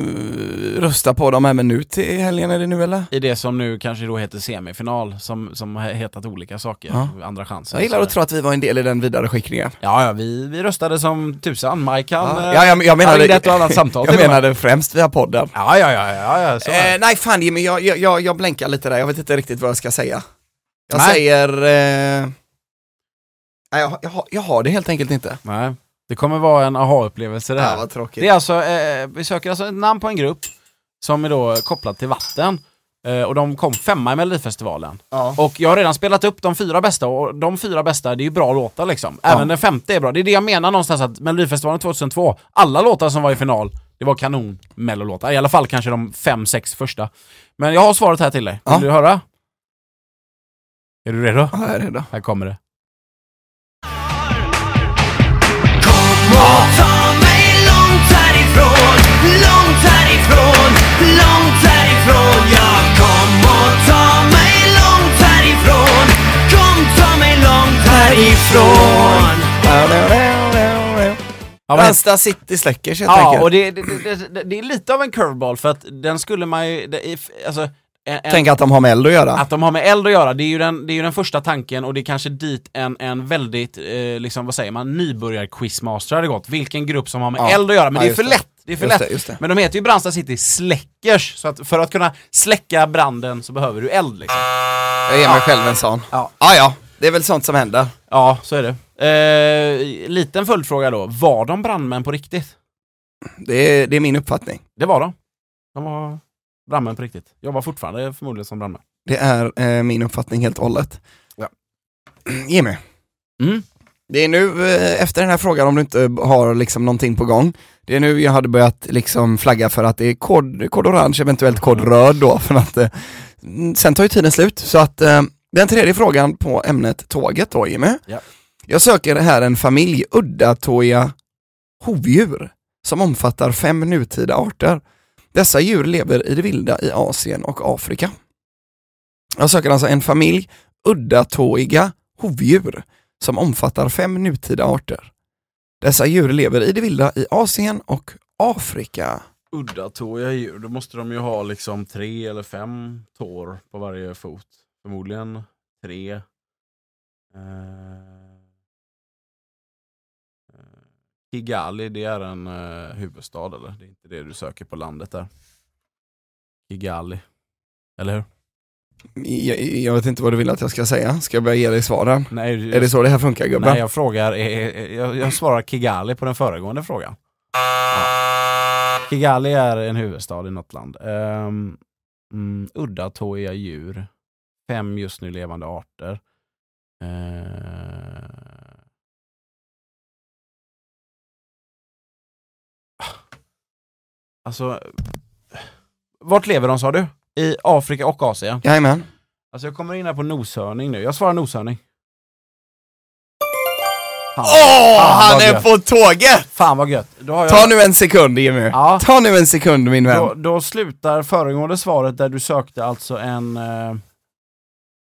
S1: rösta på dem även nu till helgen, är det nu eller?
S2: I det som nu kanske då heter semifinal, som, som har hetat olika saker,
S1: Ja.
S2: andra chanser.
S1: Jag gillar
S2: Så
S1: att tro att vi var en del i den vidare skickningen.
S2: Ja, ja, vi, vi röstade som tusan. Mike han... eh,
S1: Ja, jag, jag
S2: han ringde
S1: menade,
S2: ett och annat samtal
S1: jag
S2: till och med.
S1: menade främst via podden.
S2: Ja, ja, ja, ja, ja, så är det.
S1: Eh, nej fan Jimmy, jag, jag- jag, jag blänkar lite där, jag vet inte riktigt vad jag ska säga. Jag
S2: Nej.
S1: säger... Eh, nej, jag, jag, har- jag har det helt enkelt inte.
S2: Nej. Det kommer vara en aha-upplevelse det
S1: Ja,
S2: här.
S1: vad tråkigt.
S2: Det är alltså, eh, vi söker alltså ett namn på en grupp som är då kopplad till vatten. Eh, och de kom femma i Melodifestivalen.
S1: ja.
S2: Och jag har redan spelat upp de fyra bästa och de fyra bästa, det är ju bra låtar liksom. Även
S1: Ja.
S2: den femte är bra. Det är det jag menar någonstans att Melodifestivalen 2002, alla låtar som var i final, det var kanon mellolåtar. I alla fall kanske de fem, sex första. Men jag har svaret här till dig. Vill
S1: Ja.
S2: du höra? Är du redo?
S1: Ja, jag är redo.
S2: Här kommer det. Ja, men-
S1: Ransta City Släckers helt
S2: Ja,
S1: enkelt.
S2: och det, det, det, det, det är lite av en curveball för att den skulle man ju... Det, är- alltså, en, en,
S1: Tänk att de har med eld att göra.
S2: Att de har med eld att göra, det är ju den, det är ju den första tanken och det är kanske dit en, en väldigt, eh, liksom, vad säger man, nybörjar-quizmaster hade gått. Vilken grupp som har med
S1: Ja.
S2: eld att göra, men
S1: Ja,
S2: det är
S1: just
S2: för
S1: det.
S2: lätt. Det är för
S1: Just
S2: lätt.
S1: det, just det.
S2: Men de heter ju Brandsta City Släckers, så att för att kunna släcka branden så behöver du eld liksom.
S1: Jag ger mig själv en sån.
S2: Ja.
S1: ja, ja. Det är väl sånt som händer.
S2: Ja, så är det. Eh, liten följdfråga då, var de brandmän på riktigt?
S1: Det är, det är min uppfattning.
S2: Det var de. De var brandmän på riktigt. Jobbar fortfarande förmodligen som brandmän.
S1: Det är eh, min uppfattning helt och hållet.
S2: Ja.
S1: Jimmy.
S2: Mm.
S1: Det är nu, eh, efter den här frågan, om du inte har liksom någonting på gång, det är nu jag hade börjat liksom flagga för att det är kod, kod orange, eventuellt kod
S2: Mm.
S1: röd då, för att eh, mm, sen tar ju tiden slut. Så att eh, den tredje frågan på ämnet tåget då, Jimmy.
S2: Ja.
S1: Jag söker här en familj uddatåiga hovdjur som omfattar fem nutida arter. Dessa djur lever i det vilda i Asien och Afrika. Jag söker alltså en familj uddatåiga hovdjur som omfattar fem nutida arter. Dessa djur lever i det vilda i Asien och Afrika.
S2: udda tåiga djur, då måste de ju ha liksom tre eller fem tår på varje fot. Förmodligen tre. Eh, eh, Kigali, det är en eh, huvudstad eller? Det är inte det du söker på landet där. Kigali. Eller hur?
S1: Jag, jag vet inte vad du vill att jag ska säga, ska jag börja ge dig svaren?
S2: Nej,
S1: Är det så det här funkar gubben?
S2: nej jag frågar, eh, eh, jag, jag svarar Kigali på den föregående frågan. Ja. Kigali är en huvudstad i något land. Um, mm, uddatåiga djur. Fem just nu levande arter. Eh, Alltså, vart lever de sa du? I Afrika och Asien?
S1: Jajamän.
S2: Alltså jag kommer in här på noshörning nu. Jag svarar noshörning. Fan,
S1: Åh,
S2: fan
S1: han
S2: vad
S1: är
S2: gött.
S1: på tåget!
S2: Fan vad gött! Då, har jag,
S1: Ta nu en sekund Jimmy.
S2: Ja.
S1: Ta nu en sekund min vän.
S2: då, då slutar föregående svaret där du sökte alltså en... eh,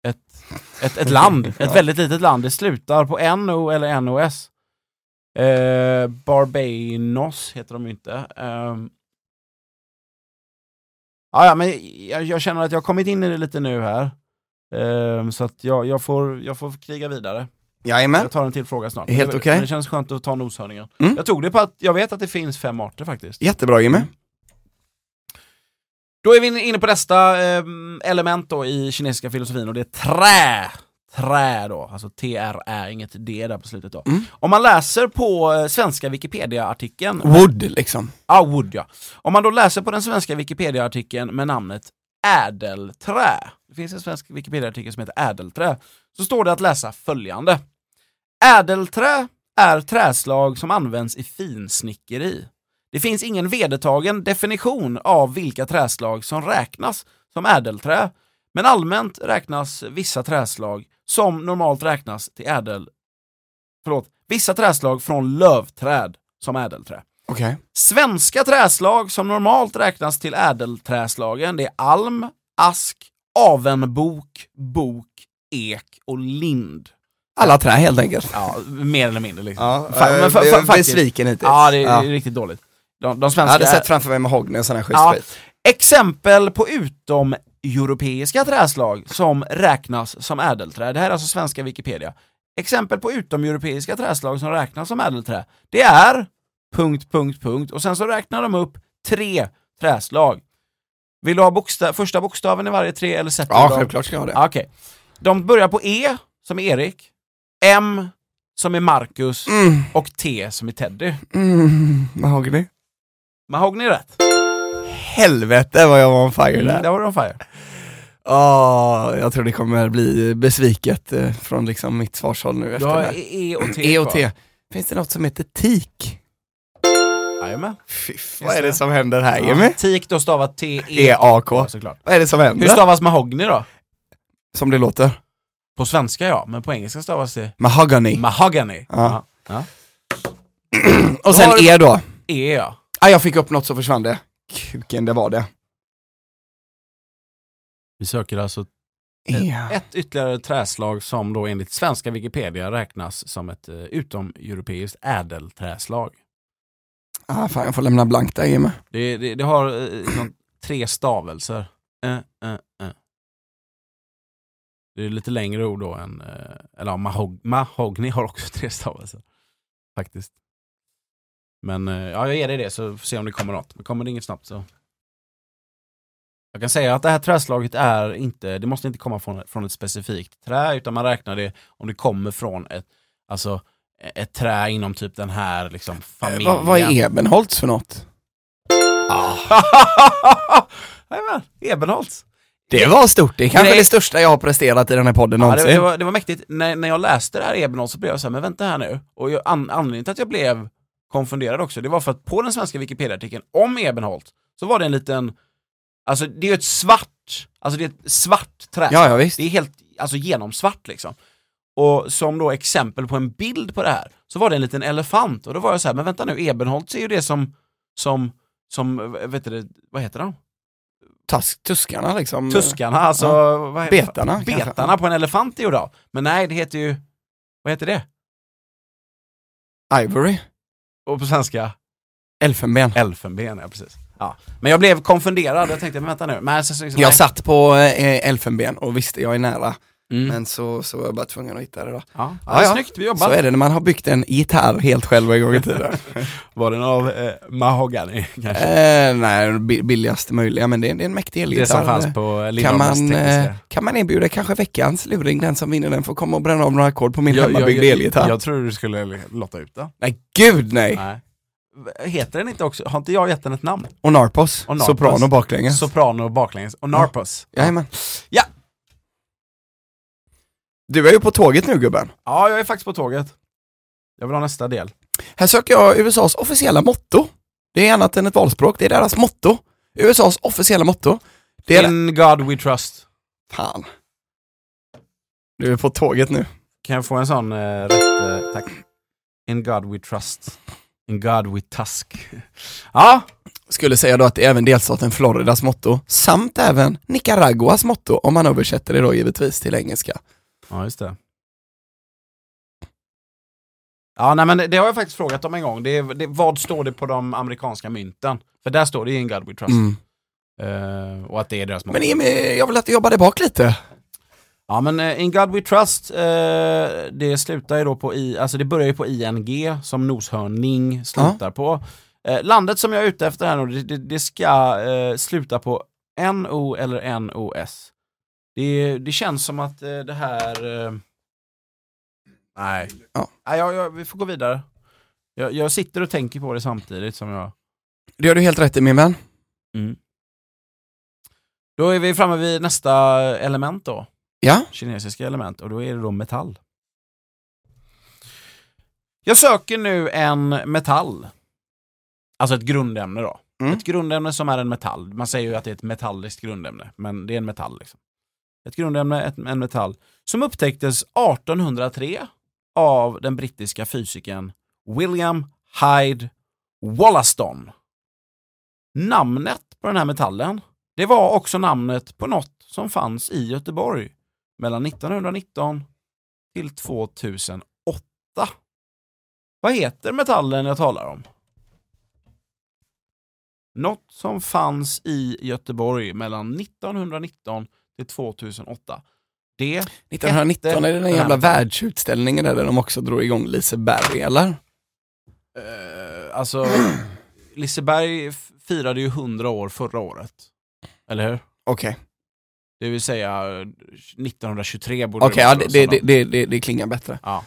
S2: Ett, ett, ett land. Ett väldigt litet land. Det slutar på NO eller NOS. Eh, Barbanos heter de ju inte. Eh, ja, ja, men jag, jag känner att jag har kommit in i det lite nu här. Eh, så att jag, jag, får, jag får kriga vidare.
S1: Jajamän.
S2: Jag tar en till fråga snart.
S1: Helt
S2: Men det-
S1: okej.
S2: men Det känns skönt att ta noshörningen.
S1: Mm.
S2: Jag tog det på att jag vet att det finns fem arter faktiskt.
S1: Jättebra Jimmy.
S2: Då är vi inne på nästa eh, element då i kinesiska filosofin och det är trä. Trä då, alltså TRÄ, inget D där på slutet då.
S1: Mm.
S2: Om man läser på eh, svenska Wikipedia-artikeln,
S1: Wood liksom.
S2: ah, wood ja. Om man då läser på den svenska Wikipedia-artikeln med namnet ädelträ, det finns en svensk Wikipedia-artikel som heter ädelträ, så står det att läsa följande. Ädelträ är träslag som används i finsnickeri. Det finns ingen vedertagen definition av vilka träslag som räknas som ädelträ, men allmänt räknas vissa träslag som normalt räknas till ädel... Förlåt, vissa träslag från lövträd som ädelträ.
S1: Okej.
S2: Svenska träslag som normalt räknas till ädelträslagen det är alm, ask, avenbok, bok, ek och lind.
S1: Alla trä helt enkelt.
S2: Ja, mer eller mindre liksom.
S1: Ja,
S2: Fan, men
S1: eh,
S2: fa- fa-
S1: jag är
S2: faktiskt.
S1: besviken hittills.
S2: Ja, det är
S1: Ja.
S2: riktigt dåligt. De, de
S1: Jag
S2: svenska...
S1: hade sett framför mig mahogny och sån här schysst
S2: Ja.
S1: skit.
S2: Exempel på utom europeiska träslag som räknas som ädelträ. Det här är alltså svenska Wikipedia. Exempel på utom europeiska träslag som räknas som ädelträ. Det är... Punkt, punkt, punkt. Och sen så räknar de upp tre träslag. Vill du ha boksta- första bokstaven i varje tre eller sätter du
S1: Ja,
S2: dem?
S1: självklart ska jag ha det.
S2: Ja, Okej. De börjar på E, som är Erik, M, som är Marcus,
S1: Mm,
S2: och T, som är Teddy.
S1: mm, mahogny.
S2: Mahogny är rätt. Mm,
S1: Helvete vad jag var on fire där.
S2: Där var du on fire.
S1: Ja, jag tror det kommer bli besviket eh, från liksom mitt svarshåll nu
S2: Du
S1: efter det
S2: har
S1: här.
S2: E och T
S1: E och
S2: kvar.
S1: T. Finns det något som heter tik?
S2: Jajamän.
S1: Fy,
S2: Just
S1: vad är det
S2: det.
S1: som händer här
S2: Ja. E
S1: Jimmy?
S2: Tik då stavat
S1: E
S2: T-E.
S1: E-A-K.
S2: Såklart.
S1: Vad är det som
S2: Hur
S1: händer?
S2: stavas mahogny då?
S1: Som det låter.
S2: På svenska ja, men på engelska stavas det
S1: Mahogany.
S2: mahogany.
S1: E- Ja.
S2: Ja.
S1: Och
S2: Då
S1: sen
S2: har du-
S1: E då.
S2: E ja.
S1: Ah, jag fick upp något så försvann det. Kuken, det var det.
S2: Vi söker alltså
S1: E.
S2: ett ytterligare träslag som då enligt svenska Wikipedia räknas som ett eh, utomeuropeiskt ädelträslag.
S1: Ah, fan, jag får lämna blankt där Jimmy.
S2: Det, det, det har eh, liksom tre stavelser. Eh, eh, eh. Det är lite längre ord då än, eh, eller ja, mahog, mahogny har också tre stavelser. Faktiskt. Men eh, ja, jag ger dig det så får vi se om det kommer något. Men kommer det inget snabbt så. Jag kan säga att det här träslaget är inte, det måste inte komma från, från ett specifikt trä utan man räknar det om det kommer från ett, alltså ett trä inom typ den här liksom
S1: Eh,
S2: familjen.
S1: vad, vad är Ebenholts för något?
S2: Jajamän, Ebenholts.
S1: Det var stort, det är kanske
S2: Nej.
S1: det största jag har presterat i den här podden
S2: Ja,
S1: någonsin.
S2: det, det, var, det var mäktigt. När, när jag läste det här Ebenholts så blev jag så här, men vänta här nu. Och jag, an, anledningen till att jag blev konfunderad också, det var för att på den svenska Wikipedia-artikeln om Ebenholt så var det en liten, alltså det är ju ett svart, alltså det är ett svart träd.
S1: Ja, ja visst.
S2: Det är helt, alltså genomsvart liksom. Och som då exempel på en bild på det här, så var det en liten elefant och då var jag så här, men vänta nu, Ebenholts är ju det som, som, som, eh, vet du, det, vad heter de?
S1: Tusk, tuskarna liksom.
S2: Tuskarna, alltså vad heter,
S1: Betarna, kanske.
S2: betarna på en elefant är gjorda av. Men nej, det heter ju, vad heter det?
S1: Ivory.
S2: Och på svenska?
S1: Elfenben.
S2: Elfenben, ja precis. Ja. Men jag blev konfunderad, jag tänkte, men vänta nu. Men, så, så, så,
S1: Jag satt på eh, elfenben och visste jag är nära.
S2: Mm.
S1: Men så, så var jag bara tvungen att hitta det då.
S2: ja.
S1: Ja, ja.
S2: Snyggt, vi
S1: Så
S2: jobbar.
S1: är det när man har byggt en gitarr helt själv en gång i tiden.
S2: Var den av eh, mahogany kanske?
S1: eh, nej, den bi- billigaste möjliga, men det är, det är en mäktig elgitarr.
S2: det som fanns på
S1: kan
S2: Lindholmens
S1: man, eh,
S2: tekniska.
S1: kan man erbjuda kanske veckans luring, den som vinner den får komma och bränna av några ackord på min
S2: Jag-
S1: hemmabyggda
S2: jag,
S1: elgitarr.
S2: jag, jag tror du skulle lotta ut den.
S1: nej, gud nej!
S2: Nej. Heter den inte också, har inte jag gett den ett namn?
S1: Och Narpos,
S2: Och Narpos.
S1: soprano baklänges.
S2: Soprano baklänges och Narpos.
S1: Jajamän.
S2: Ja.
S1: Du är ju på tåget nu gubben.
S2: Ja, jag är faktiskt på tåget. Jag vill ha nästa del.
S1: Här söker jag USAs officiella motto. Det är annat än ett valspråk, det är deras motto. USAs officiella motto. Det är...
S2: In God we trust.
S1: Fan. Du är på tåget nu.
S2: Kan jag få en sån eh, rätt? Eh, tack. In God we trust. In God we tusk. ja,
S1: Skulle säga då att det är även delstaten Floridas motto, samt även Nicaraguas motto, om man översätter det då givetvis till engelska.
S2: Ja, just det. Ja, nej, men det har jag faktiskt frågat om en gång. Det, är- det, vad står det på de amerikanska mynten? För där står det ju In God We Trust.
S1: Mm.
S2: Eh, och att det är deras mål.
S1: Men Emil, jag vill att du jobbar dig bak lite.
S2: Ja, men eh, In God We Trust, eh, det slutar ju då på I, alltså det börjar ju på ING som noshörning slutar på. Eh, landet som jag är ute efter här nu, det, det, det ska eh, sluta på NO eller NOS. Det, det känns som att eh, det här... Eh, nej.
S1: Ja.
S2: nej jag, jag, vi får gå vidare. Jag, jag sitter och tänker på det samtidigt som jag...
S1: Det gör du helt rätt i min vän.
S2: Då är vi framme vid nästa element då.
S1: Ja.
S2: kinesiska element och då är det då metall. Jag söker nu en metall. Alltså ett grundämne då.
S1: Mm.
S2: Ett grundämne som är en metall. Man säger ju att det är ett metalliskt grundämne, men det är en metall. Liksom. Ett grundämne, ett, en metall, som upptäcktes 1803 av den brittiska fysikern William Hyde Wollaston. Namnet på den här metallen, det var också namnet på något som fanns i Göteborg mellan 1919 till 2008. Vad heter metallen jag talar om? Något som fanns i Göteborg mellan 1919 till 2008. Det
S1: 1919 är det den jävla världsutställningen där de också drog igång Liseberg, eller?
S2: Eh, alltså, Liseberg f- firade ju 100 år förra året. Eller hur?
S1: Okej,
S2: Det vill säga eh, 1923 borde
S1: Okej, ja,
S2: vara,
S1: det,
S2: så de-
S1: det, det, det, det klingar bättre.
S2: Ja.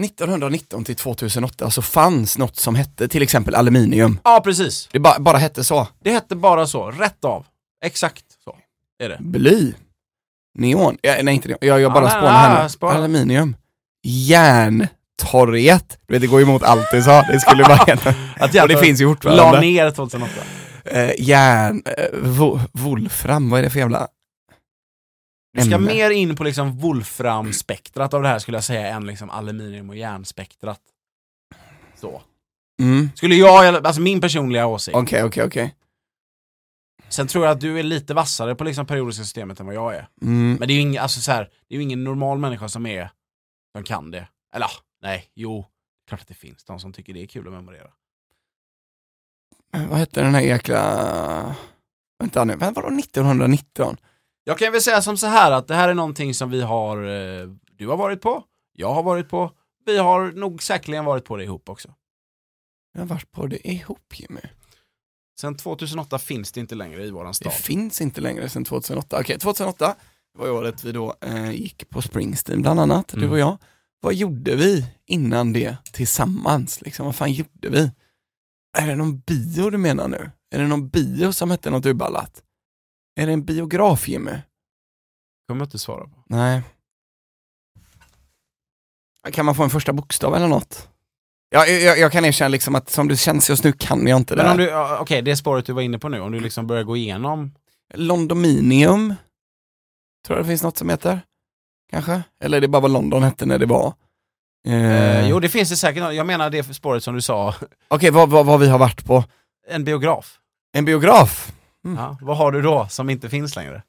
S1: 1919 till 2008 så fanns något som hette till exempel aluminium.
S2: ja, precis.
S1: Det bara, bara hette så.
S2: Det hette bara så, rätt av. Exakt så är det.
S1: Bly. Neon. Ja, nej, inte neon. Jag, jag bara
S2: Ah, nej,
S1: spånar här
S2: nej,
S1: nu.
S2: spara.
S1: Aluminium. Järntorget. Du vet, det går ju emot allt du sa. Det skulle bara heta.
S2: Att
S1: Och det finns ju
S2: La
S1: fortfarande.
S2: ner 2008.
S1: Eh, järn... Eh, vo, volfram, vad är det för jävla...
S2: Du ska
S1: Ämne.
S2: mer in på liksom Wolfram-spektrat av det här skulle jag säga än liksom aluminium och järnspektrat. Så.
S1: Mm.
S2: Skulle jag, alltså min personliga åsikt.
S1: Okej, okej, okej.
S2: Sen tror jag att du är lite vassare på liksom periodiska systemet än vad jag är.
S1: Mm.
S2: Men det är ju ingen, alltså så här, det är ju ingen normal människa som är, som kan det. Eller ah, nej, jo, klart att det finns de som tycker det är kul att memorera.
S1: Eh, Vad hette den här jäkla... Vänta nu, vad- vadå 1919?
S2: Jag kan väl säga som så här att det här är någonting som vi har, eh, du har varit på, jag har varit på, vi har nog säkerligen varit på det ihop också.
S1: Jag har varit på det ihop Jimmy.
S2: Sen 2008 finns det inte längre i våran
S1: Det
S2: stad.
S1: finns inte längre sedan 2008. Okej, 2008 var ju året vi då eh, gick på Springsteen bland annat,
S2: Mm.
S1: du och jag. Vad gjorde vi innan det tillsammans? Liksom, vad fan gjorde vi? Är det någon bio du menar nu? Är det någon bio som hette något uballat? Är det en biograf Jimmy?
S2: kommer jag inte svara på.
S1: Nej. Kan man få en första bokstav eller något? Ja, jag, jag kan erkänna liksom att som det känns just nu kan jag inte det
S2: Men om
S1: här.
S2: du, ja, okej det spåret du var inne på nu, om du liksom börjar gå igenom.
S1: Londominium? Tror jag det finns något som heter? Kanske? Eller är det bara vad London hette när det var? Eh,
S2: Eh,
S1: Okej,
S2: jo det finns det säkert, något. jag menar det spåret som du sa,
S1: vad, vad, vad vi har varit på.
S2: en biograf.
S1: En biograf? Mm.
S2: Ja, vad har du då som inte finns längre?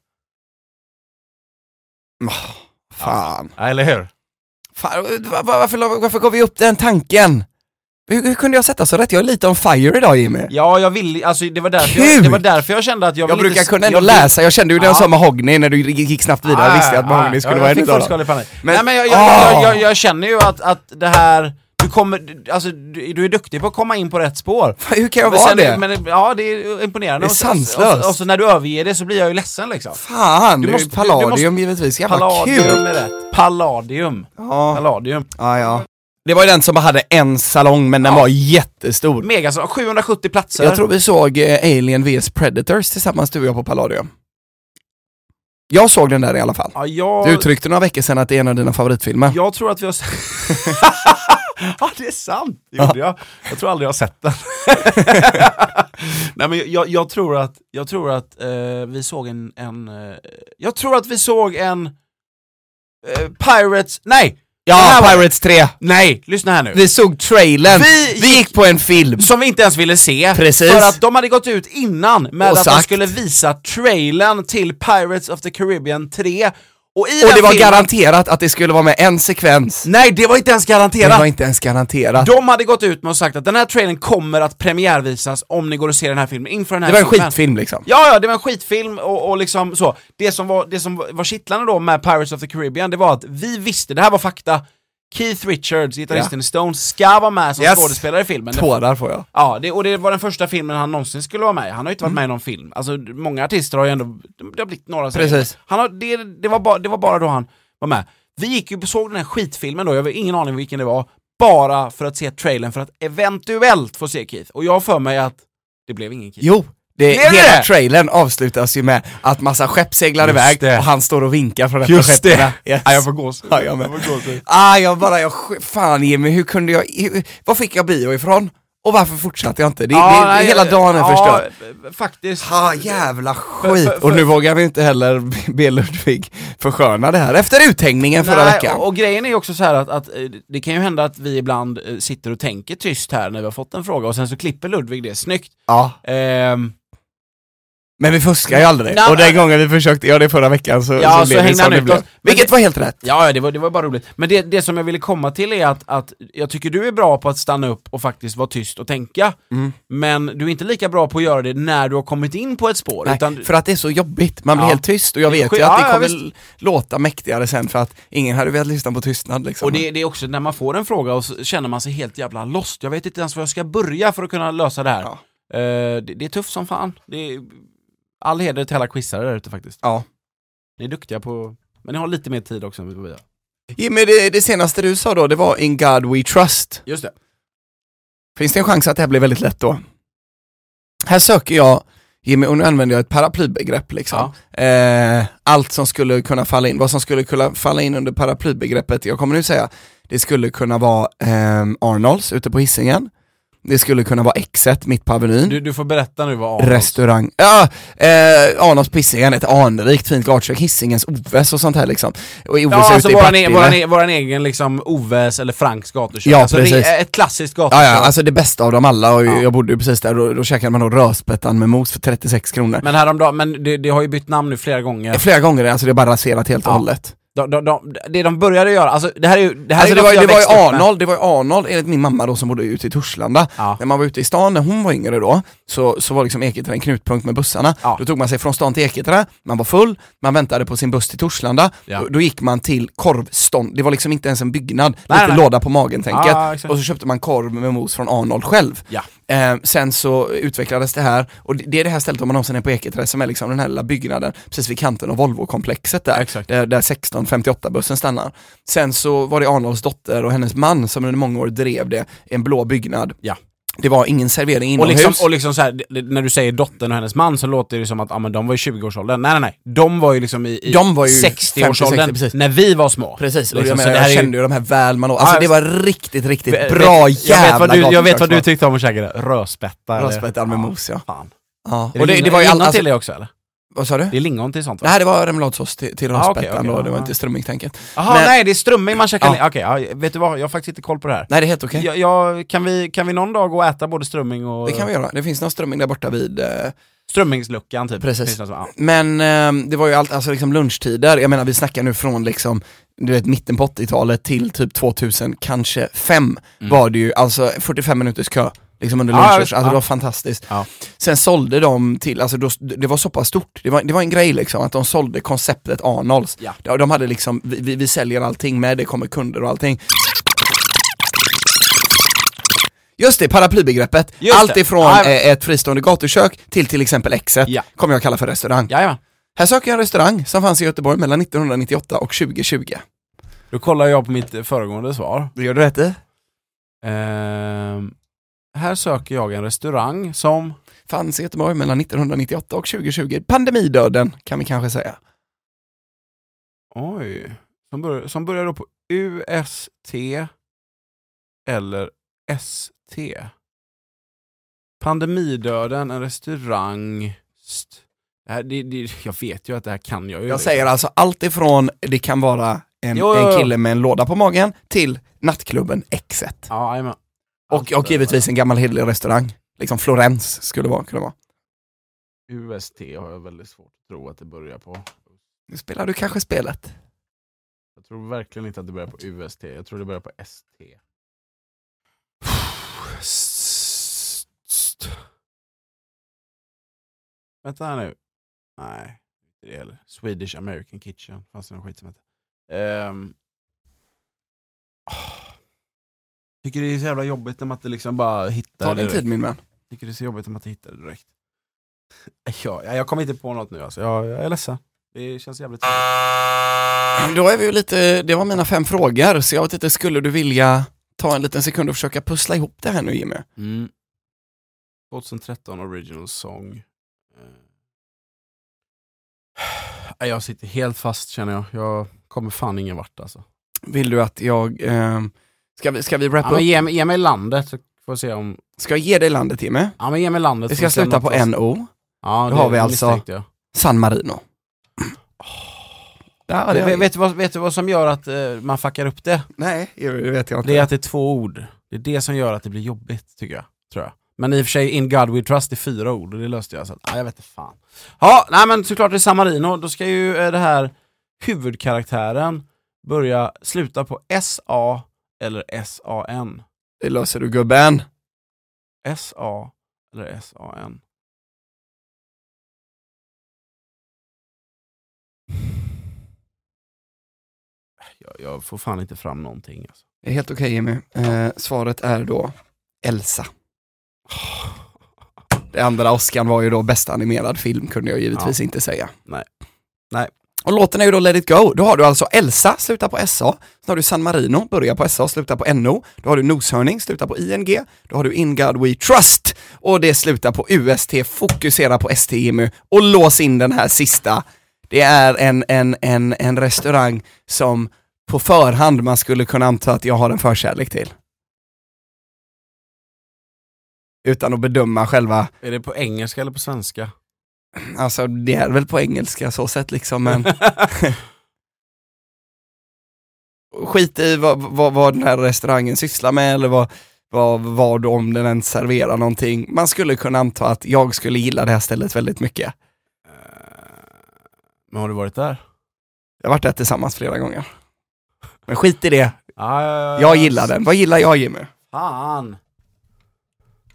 S1: Oh, fan.
S2: Ja, eller hur?
S1: fan. Var, varför, la- varför gav vi upp den tanken? Hur, hur kunde jag sätta så rätt? Jag är lite on fire idag Jimmy.
S2: Ja, jag vill, alltså det var därför, jag, det var därför jag kände att jag
S1: Jag
S2: vill
S1: brukar
S2: inte,
S1: kunna ändå
S2: jag vill-
S1: läsa, jag kände ju när jag
S2: Ja.
S1: sa Mahogny när du gick snabbt vidare,
S2: Ah,
S1: visste jag att Mahogny
S2: ah,
S1: skulle
S2: ja,
S1: vara
S2: jag
S1: en
S2: fick
S1: utav dem.
S2: fullskalig panik.
S1: Men-
S2: Nej men jag,
S1: Ah!
S2: jag, jag, jag, jag känner ju att, att det här, du kommer, alltså du, du är duktig på att komma in på rätt spår.
S1: Fan, Hur kan jag
S2: Men
S1: vara
S2: sen-
S1: det?
S2: Men, ja, det är imponerande.
S1: Det är
S2: Och så- och så-
S1: sanslöst.
S2: Och, så- och så när du överger det så blir jag ju ledsen liksom.
S1: Fan,
S2: Du
S1: du
S2: måste-
S1: måste,
S2: du- du
S1: palladium
S2: måste-
S1: givetvis, jävla
S2: Palladium
S1: kul!
S2: är rätt. Palladium.
S1: Ja,
S2: Palladium.
S1: ja, Ah, ja. Det var ju den som hade en salong men den
S2: Ja.
S1: var jättestor.
S2: Megasal, 770 platser.
S1: Jag tror vi såg eh, Alien vs Predators tillsammans du och jag på Palladium. Jag såg den där i alla fall.
S2: ja, jag,
S1: Du uttryckte några veckor sedan att det är en av dina favoritfilmer.
S2: jag tror att vi har sett... ja, det är sant! Det gjorde jag. Jag tror aldrig jag har sett den. Nej, men jag, jag tror att, jag tror att eh, vi såg en... en eh, jag tror att vi såg en... eh, Pirates... Nej! Den här
S1: Ja,
S2: var-
S1: Pirates 3!
S2: Nej! Lyssna här nu.
S1: Vi såg trailern,
S2: Vi
S1: vi,
S2: gick-
S1: gick på en film.
S2: Som vi inte ens ville se.
S1: Precis.
S2: För att de hade gått ut innan med
S1: Och
S2: att de
S1: sagt.
S2: skulle visa trailern till Pirates of the Caribbean 3. Och, i
S1: Och
S2: den
S1: det var
S2: filmen-
S1: garanterat att det skulle vara med en sekvens.
S2: Nej, det var inte ens
S1: Det
S2: garanterat.
S1: var inte ens garanterat.
S2: De hade gått ut med och sagt att den här trailern kommer att premiärvisas om ni går och ser den här filmen inför den här
S1: Det var en
S2: filmen.
S1: skitfilm liksom.
S2: Ja, ja, det var en skitfilm och, och liksom så. Det som, var, det som var kittlande då med Pirates of the Caribbean, det var att vi visste, det här var fakta, Keith Richards, gitarristen i Stones, ska vara med som
S1: Yes.
S2: skådespelare i filmen.
S1: Tårar får jag.
S2: Ja, det, och det var den första filmen han någonsin skulle vara med i. Han har ju inte varit med i någon film. Alltså, många artister har ju ändå, det har blivit några serier.
S1: Precis.
S2: Han har, det, det, var bara, det var bara då han var med. Vi gick ju och såg den här skitfilmen då, jag har ingen aning vilken det var, bara för att se trailern för att eventuellt få se Keith. Och jag har för mig att det blev ingen Keith.
S1: Jo, det,
S2: Blev det
S1: hela
S2: det?
S1: trailern avslutas ju med att massa skepp seglar
S2: Just
S1: iväg
S2: det.
S1: och han står och vinkar från ett av skeppen. Yes.
S2: Ja, jag får gås.
S1: Ja, jag med.
S2: får gås.
S1: Ah, jag bara, jag, sk- fan Jimmy, hur kunde jag, hur, var fick jag bio ifrån? Och varför fortsatte jag inte? Det, det,
S2: nej, eh,
S1: hela dagen är
S2: Ah, ja, eh,
S1: förstörd.
S2: faktiskt.
S1: Ah, jävla skit!
S2: för- för-
S1: och nu vågar vi inte heller be Ludvig försköna det här efter uthängningen förra
S2: Nej,
S1: veckan.
S2: Och, och grejen är ju också så här att, att eh, det kan ju hända att vi ibland eh, sitter och tänker tyst här när vi har fått en fråga och sen så klipper Ludvig det snyggt.
S1: Ja,
S2: Ehm,
S1: men vi fuskar ju aldrig.
S2: Nej,
S1: och den
S2: men-
S1: gången vi försökte göra det förra veckan så,
S2: Ja, så
S1: blev det
S2: hängde han
S1: som det
S2: ut
S1: blev.
S2: oss. Men-
S1: Vilket var helt rätt.
S2: ja, ja, det var, det var bara roligt. Men det, det som jag ville komma till är att, att jag tycker du är bra på att stanna upp och faktiskt vara tyst och tänka.
S1: Mm.
S2: Men du är inte lika bra på att göra det när du har kommit in på ett spår.
S1: Nej,
S2: utan,
S1: för att det är så jobbigt, man blir
S2: Ja.
S1: helt tyst och jag vet ju
S2: Ja,
S1: att det
S2: ja,
S1: kommer
S2: visst.
S1: låta mäktigare sen för att ingen hade velat lyssna på tystnad liksom.
S2: och det, det är också när man får en fråga och så känner man sig helt jävla lost. Jag vet inte ens var jag ska börja för att kunna lösa det här.
S1: Ja.
S2: Eh, det, det är tufft som fan. Det är, all heder till alla quizare där ute faktiskt.
S1: Ja.
S2: Ni är duktiga på... Men ni har lite mer tid också än vad vi har.
S1: Jimmy, det, det senaste du sa då, det var In God We Trust.
S2: Just det.
S1: Finns det en chans att det här blir väldigt lätt då? Här söker jag, Jimmy, och nu använder jag ett paraplybegrepp liksom. Eh, allt som skulle kunna falla in, vad som skulle kunna falla in under paraplybegreppet, jag kommer nu säga, det skulle kunna vara ehm, Arnolds ute på Hisingen. Det skulle kunna vara Exet mitt på Avenyn.
S2: Du, du får berätta nu vad Arnolds-
S1: restaurang. Ja, eh, Arnolds Pissingen, ett anrikt fint gatukök, Hisingens Oves och sånt här liksom. Och Oves
S2: Ja,
S1: är
S2: alltså
S1: ute i
S2: våran, e
S1: Partille.
S2: våran, e våran egen liksom Oves eller Franks gatukök.
S1: Ja,
S2: alltså, det är
S1: precis.
S2: Ett klassiskt gatukök.
S1: Ja, ja, alltså det bästa av dem alla och
S2: Ja.
S1: jag bodde ju precis där och då käkade man då rödspättan med mos för 36 kronor.
S2: Men häromdagen, men det, det har ju bytt namn nu flera gånger.
S1: Flera gånger, alltså det är bara raserat helt och
S2: Ja.
S1: hållet.
S2: De, de, de, det de började göra, alltså det här är ju... Det här
S1: Alltså
S2: är
S1: det
S2: något
S1: var, ju-
S2: jag
S1: det var ju
S2: växte upp med.
S1: Arnold, det var ju Arnold enligt min mamma då som bodde ute i Torslanda.
S2: Ja.
S1: När man var ute i stan när hon var yngre då, så, så var liksom Ekertra en knutpunkt med bussarna.
S2: Ja.
S1: Då tog man sig från stan till Ekertra, man var full, man väntade på sin buss till Torslanda,
S2: Ja.
S1: då, då gick man till korvstånd, det var liksom inte ens en byggnad,
S2: Nej,
S1: lite
S2: nej.
S1: låda på magen-tänket.
S2: Ja, exakt.
S1: och så köpte man korv med mos från Arnold själv.
S2: Ja.
S1: Eh, sen så utvecklades det här, och det det är det här stället om man någonsin är på Ekertra som är liksom den här lilla byggnaden precis vid kanten av Volvo-komplexet där, Eh,
S2: Exakt.
S1: där, där 1658-bussen stannar. Sen så var det Arnolds dotter och hennes man som under många år drev det, i en blå byggnad.
S2: Ja.
S1: Det var ingen servering
S2: Och
S1: inomhus.
S2: liksom, och liksom så här, det- det- när du säger dottern och hennes man så låter det som att ah, men de var i 20-årsåldern. Nej, nej, nej. De var ju liksom i, i
S1: De var ju 50, 60,
S2: 60-årsåldern
S1: precis.
S2: när vi var små.
S1: Precis, och
S2: Liksom,
S1: jag,
S2: så
S1: menar,
S2: det här
S1: jag
S2: är ju-
S1: kände ju de här Välman och, alltså
S2: Ja,
S1: det var riktigt, riktigt
S2: Vet-
S1: bra
S2: vet-
S1: jävla
S2: jag vet, vad du, jag vet vad du
S1: gatuköksmat.
S2: tyckte om att käka det. Rödspätta. eller-
S1: Rödspättan med mos ja.
S2: Fan.
S1: ja.
S2: Och det, det var ju lingon till det också eller?
S1: alltså, vad sa du?
S2: Det är lingon till sånt va?
S1: Det här det var remouladsås till, till
S2: Ah, okej,
S1: rödspättan
S2: okej,
S1: då,
S2: ja,
S1: det var
S2: ja.
S1: inte strömmingtänket.
S2: Jaha,
S1: Men-
S2: nej det är strömming man käkar
S1: Ja.
S2: lingon. Okej, ja, vet du vad? Jag har faktiskt inte koll på det här.
S1: Nej det är helt okej.
S2: Jag, jag, kan, vi, kan vi någon dag gå och äta både strömming och...
S1: Det kan vi göra, det finns någon strömming där borta vid eh,
S2: Strömmingsluckan typ.
S1: Precis.
S2: Finns det något som- ja.
S1: Men ehm, det var ju allt, alltså liksom lunchtider, jag menar vi snackar nu från liksom du vet mitten på 80-talet till typ 2000, kanske 5 var det ju alltså 45 minuters kö. Liksom under
S2: Mm. Ja,
S1: lunchers,
S2: jag vet.
S1: alltså
S2: Ja.
S1: det var fantastiskt.
S2: Ja.
S1: Sen sålde de till, alltså då, det var så pass stort, det var, det var en grej liksom att de sålde konceptet Arnolds.
S2: Ja.
S1: De- De hade liksom, vi, vi, vi säljer allting med, det kommer kunder och allting. Just det, paraplybegreppet.
S2: Just
S1: Allt
S2: det.
S1: ifrån
S2: Ja,
S1: eh, ett fristående gatukök till till exempel Exet
S2: Ja.
S1: kommer jag kalla för restaurang.
S2: Jajamän.
S1: Här söker jag en restaurang som fanns i Göteborg mellan 1998 och 2020.
S2: Då kollar jag på mitt eh, föregående svar.
S1: Det gör du rätt i.
S2: Ehm, här söker jag en restaurang som...
S1: Fanns i Göteborg mellan 1998 och 2020. Pandemidöden kan vi kanske säga.
S2: Oj. Som, bör, som börjar då på UST eller ST. Pandemidöden, en restaurang... St. Det här, det, det, jag vet ju att det här kan jag ju. liksom.
S1: Jag säger alltså allt ifrån det kan vara en,
S2: Jo, jo, jo.
S1: en kille med en låda på magen till nattklubben Exet.
S2: Ja, jajamän. Allt
S1: Och, och
S2: det
S1: givetvis
S2: där.
S1: en gammal hederlig restaurang. Liksom Florens skulle vara, kunna vara.
S2: UST har jag väldigt svårt att tro att det börjar på.
S1: Nu spelar du kanske spelet.
S2: Jag tror verkligen inte att det börjar på UST. Jag tror det börjar på ST. Vänta här nu. Nej, inte det heller. Swedish American Kitchen. Fanns det någon skit som hette? Ehm. Ah. Tycker det är så jävla jobbigt när man inte liksom bara hittar
S1: Ta
S2: det
S1: din
S2: direkt.
S1: tid min man.
S2: Tycker det är så jobbigt om att hitta det direkt. Ja, jag kommer inte på något nu alltså. Jag, jag är ledsen. Det känns jävligt
S1: Då är vi ju lite, det var mina fem frågor, så jag vet inte, skulle du vilja ta en liten sekund och försöka pussla ihop det här nu Jimmy?
S2: mm. 2013 original song. Eh. Jag sitter helt fast känner jag. Jag kommer fan ingen vart alltså.
S1: Vill du att jag, ehm, ska vi, ska vi
S2: Ja,
S1: wrappa
S2: men
S1: upp?
S2: ge, mig- ge mig landet så får jag se om...
S1: Ska jag ge dig landet Jimmy?
S2: Ja men ge mig landet.
S1: Det
S2: så får
S1: ska
S2: jag se om
S1: sluta på
S2: något-
S1: NO,
S2: Ja,
S1: Då
S2: det
S1: har vi alltså-
S2: misstänkte Jag.
S1: San Marino. Ja,
S2: vet, vet, du vad, vet du vad som gör att eh, man fuckar upp det?
S1: nej, det vet jag inte.
S2: Det är att det är två ord. Det är det som gör att det blir jobbigt, tycker jag. Tror jag. Men i och för sig, In God We Trust är fyra ord och det löste jag. Så att, ah, jag vet inte fan. Ja, nej men såklart det är San Marino. Då ska ju eh, det här huvudkaraktären börja sluta på SA eller SAN.
S1: Det löser du gubben.
S2: SA eller SAN. Jag, jag får fan inte fram någonting. Alltså.
S1: Det är helt okej Jimmy. Eh, svaret är då Elsa. Det andra Oscarn var ju då bästa animerad film kunde jag givetvis inte säga.
S2: Nej. Nej.
S1: Och låten är ju då Let it go. Då har du alltså Elsa, slutar på SA. Sen har du San Marino, börjar på SA, slutar på NO. Då har du Noshörning, slutar på ING. Då har du In God We Trust. Och det slutar på UST, fokusera på ST Jimmy. Och lås in den här sista. Det är en, en, en, en restaurang som på förhand man skulle kunna anta att jag har en förkärlek till. Utan att bedöma själva
S2: Är det på engelska eller på svenska?
S1: Alltså det är väl på engelska så sett liksom, men skit i vad, vad, vad den här restaurangen sysslar med eller vad, vad, vad om den ens serverar någonting. Man skulle kunna anta att jag skulle gilla det här stället väldigt mycket.
S2: Men har du varit där?
S1: Jag har varit där tillsammans flera gånger. Men skit i det,
S2: Ja,
S1: jag gillar den. Vad gillar jag Jimmy?
S2: Fan!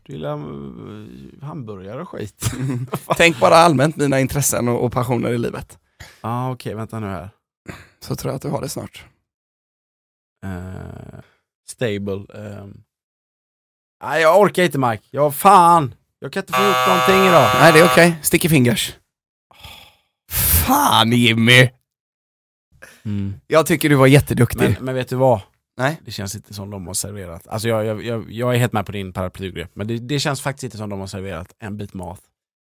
S2: Du gillar eh, hamburgare och skit.
S1: Tänk bara allmänt mina intressen och, och passioner i livet.
S2: ah, okej, vänta nu här.
S1: Så tror jag att du har det snart.
S2: Eh, stable. ehm. Nej, jag orkar inte Mike. Ja, fan! Jag kan inte få ihop någonting idag.
S1: Nej det är okej, sticky fingers. Fan Jimmy! Jag tycker du var jätteduktig.
S2: Men, men vet du vad?
S1: Mm. Nej.
S2: Det känns inte som de har serverat. Alltså jag, jag, jag, jag är helt med på din paraplygrepp, men det, det känns faktiskt inte som de har serverat en bit mat.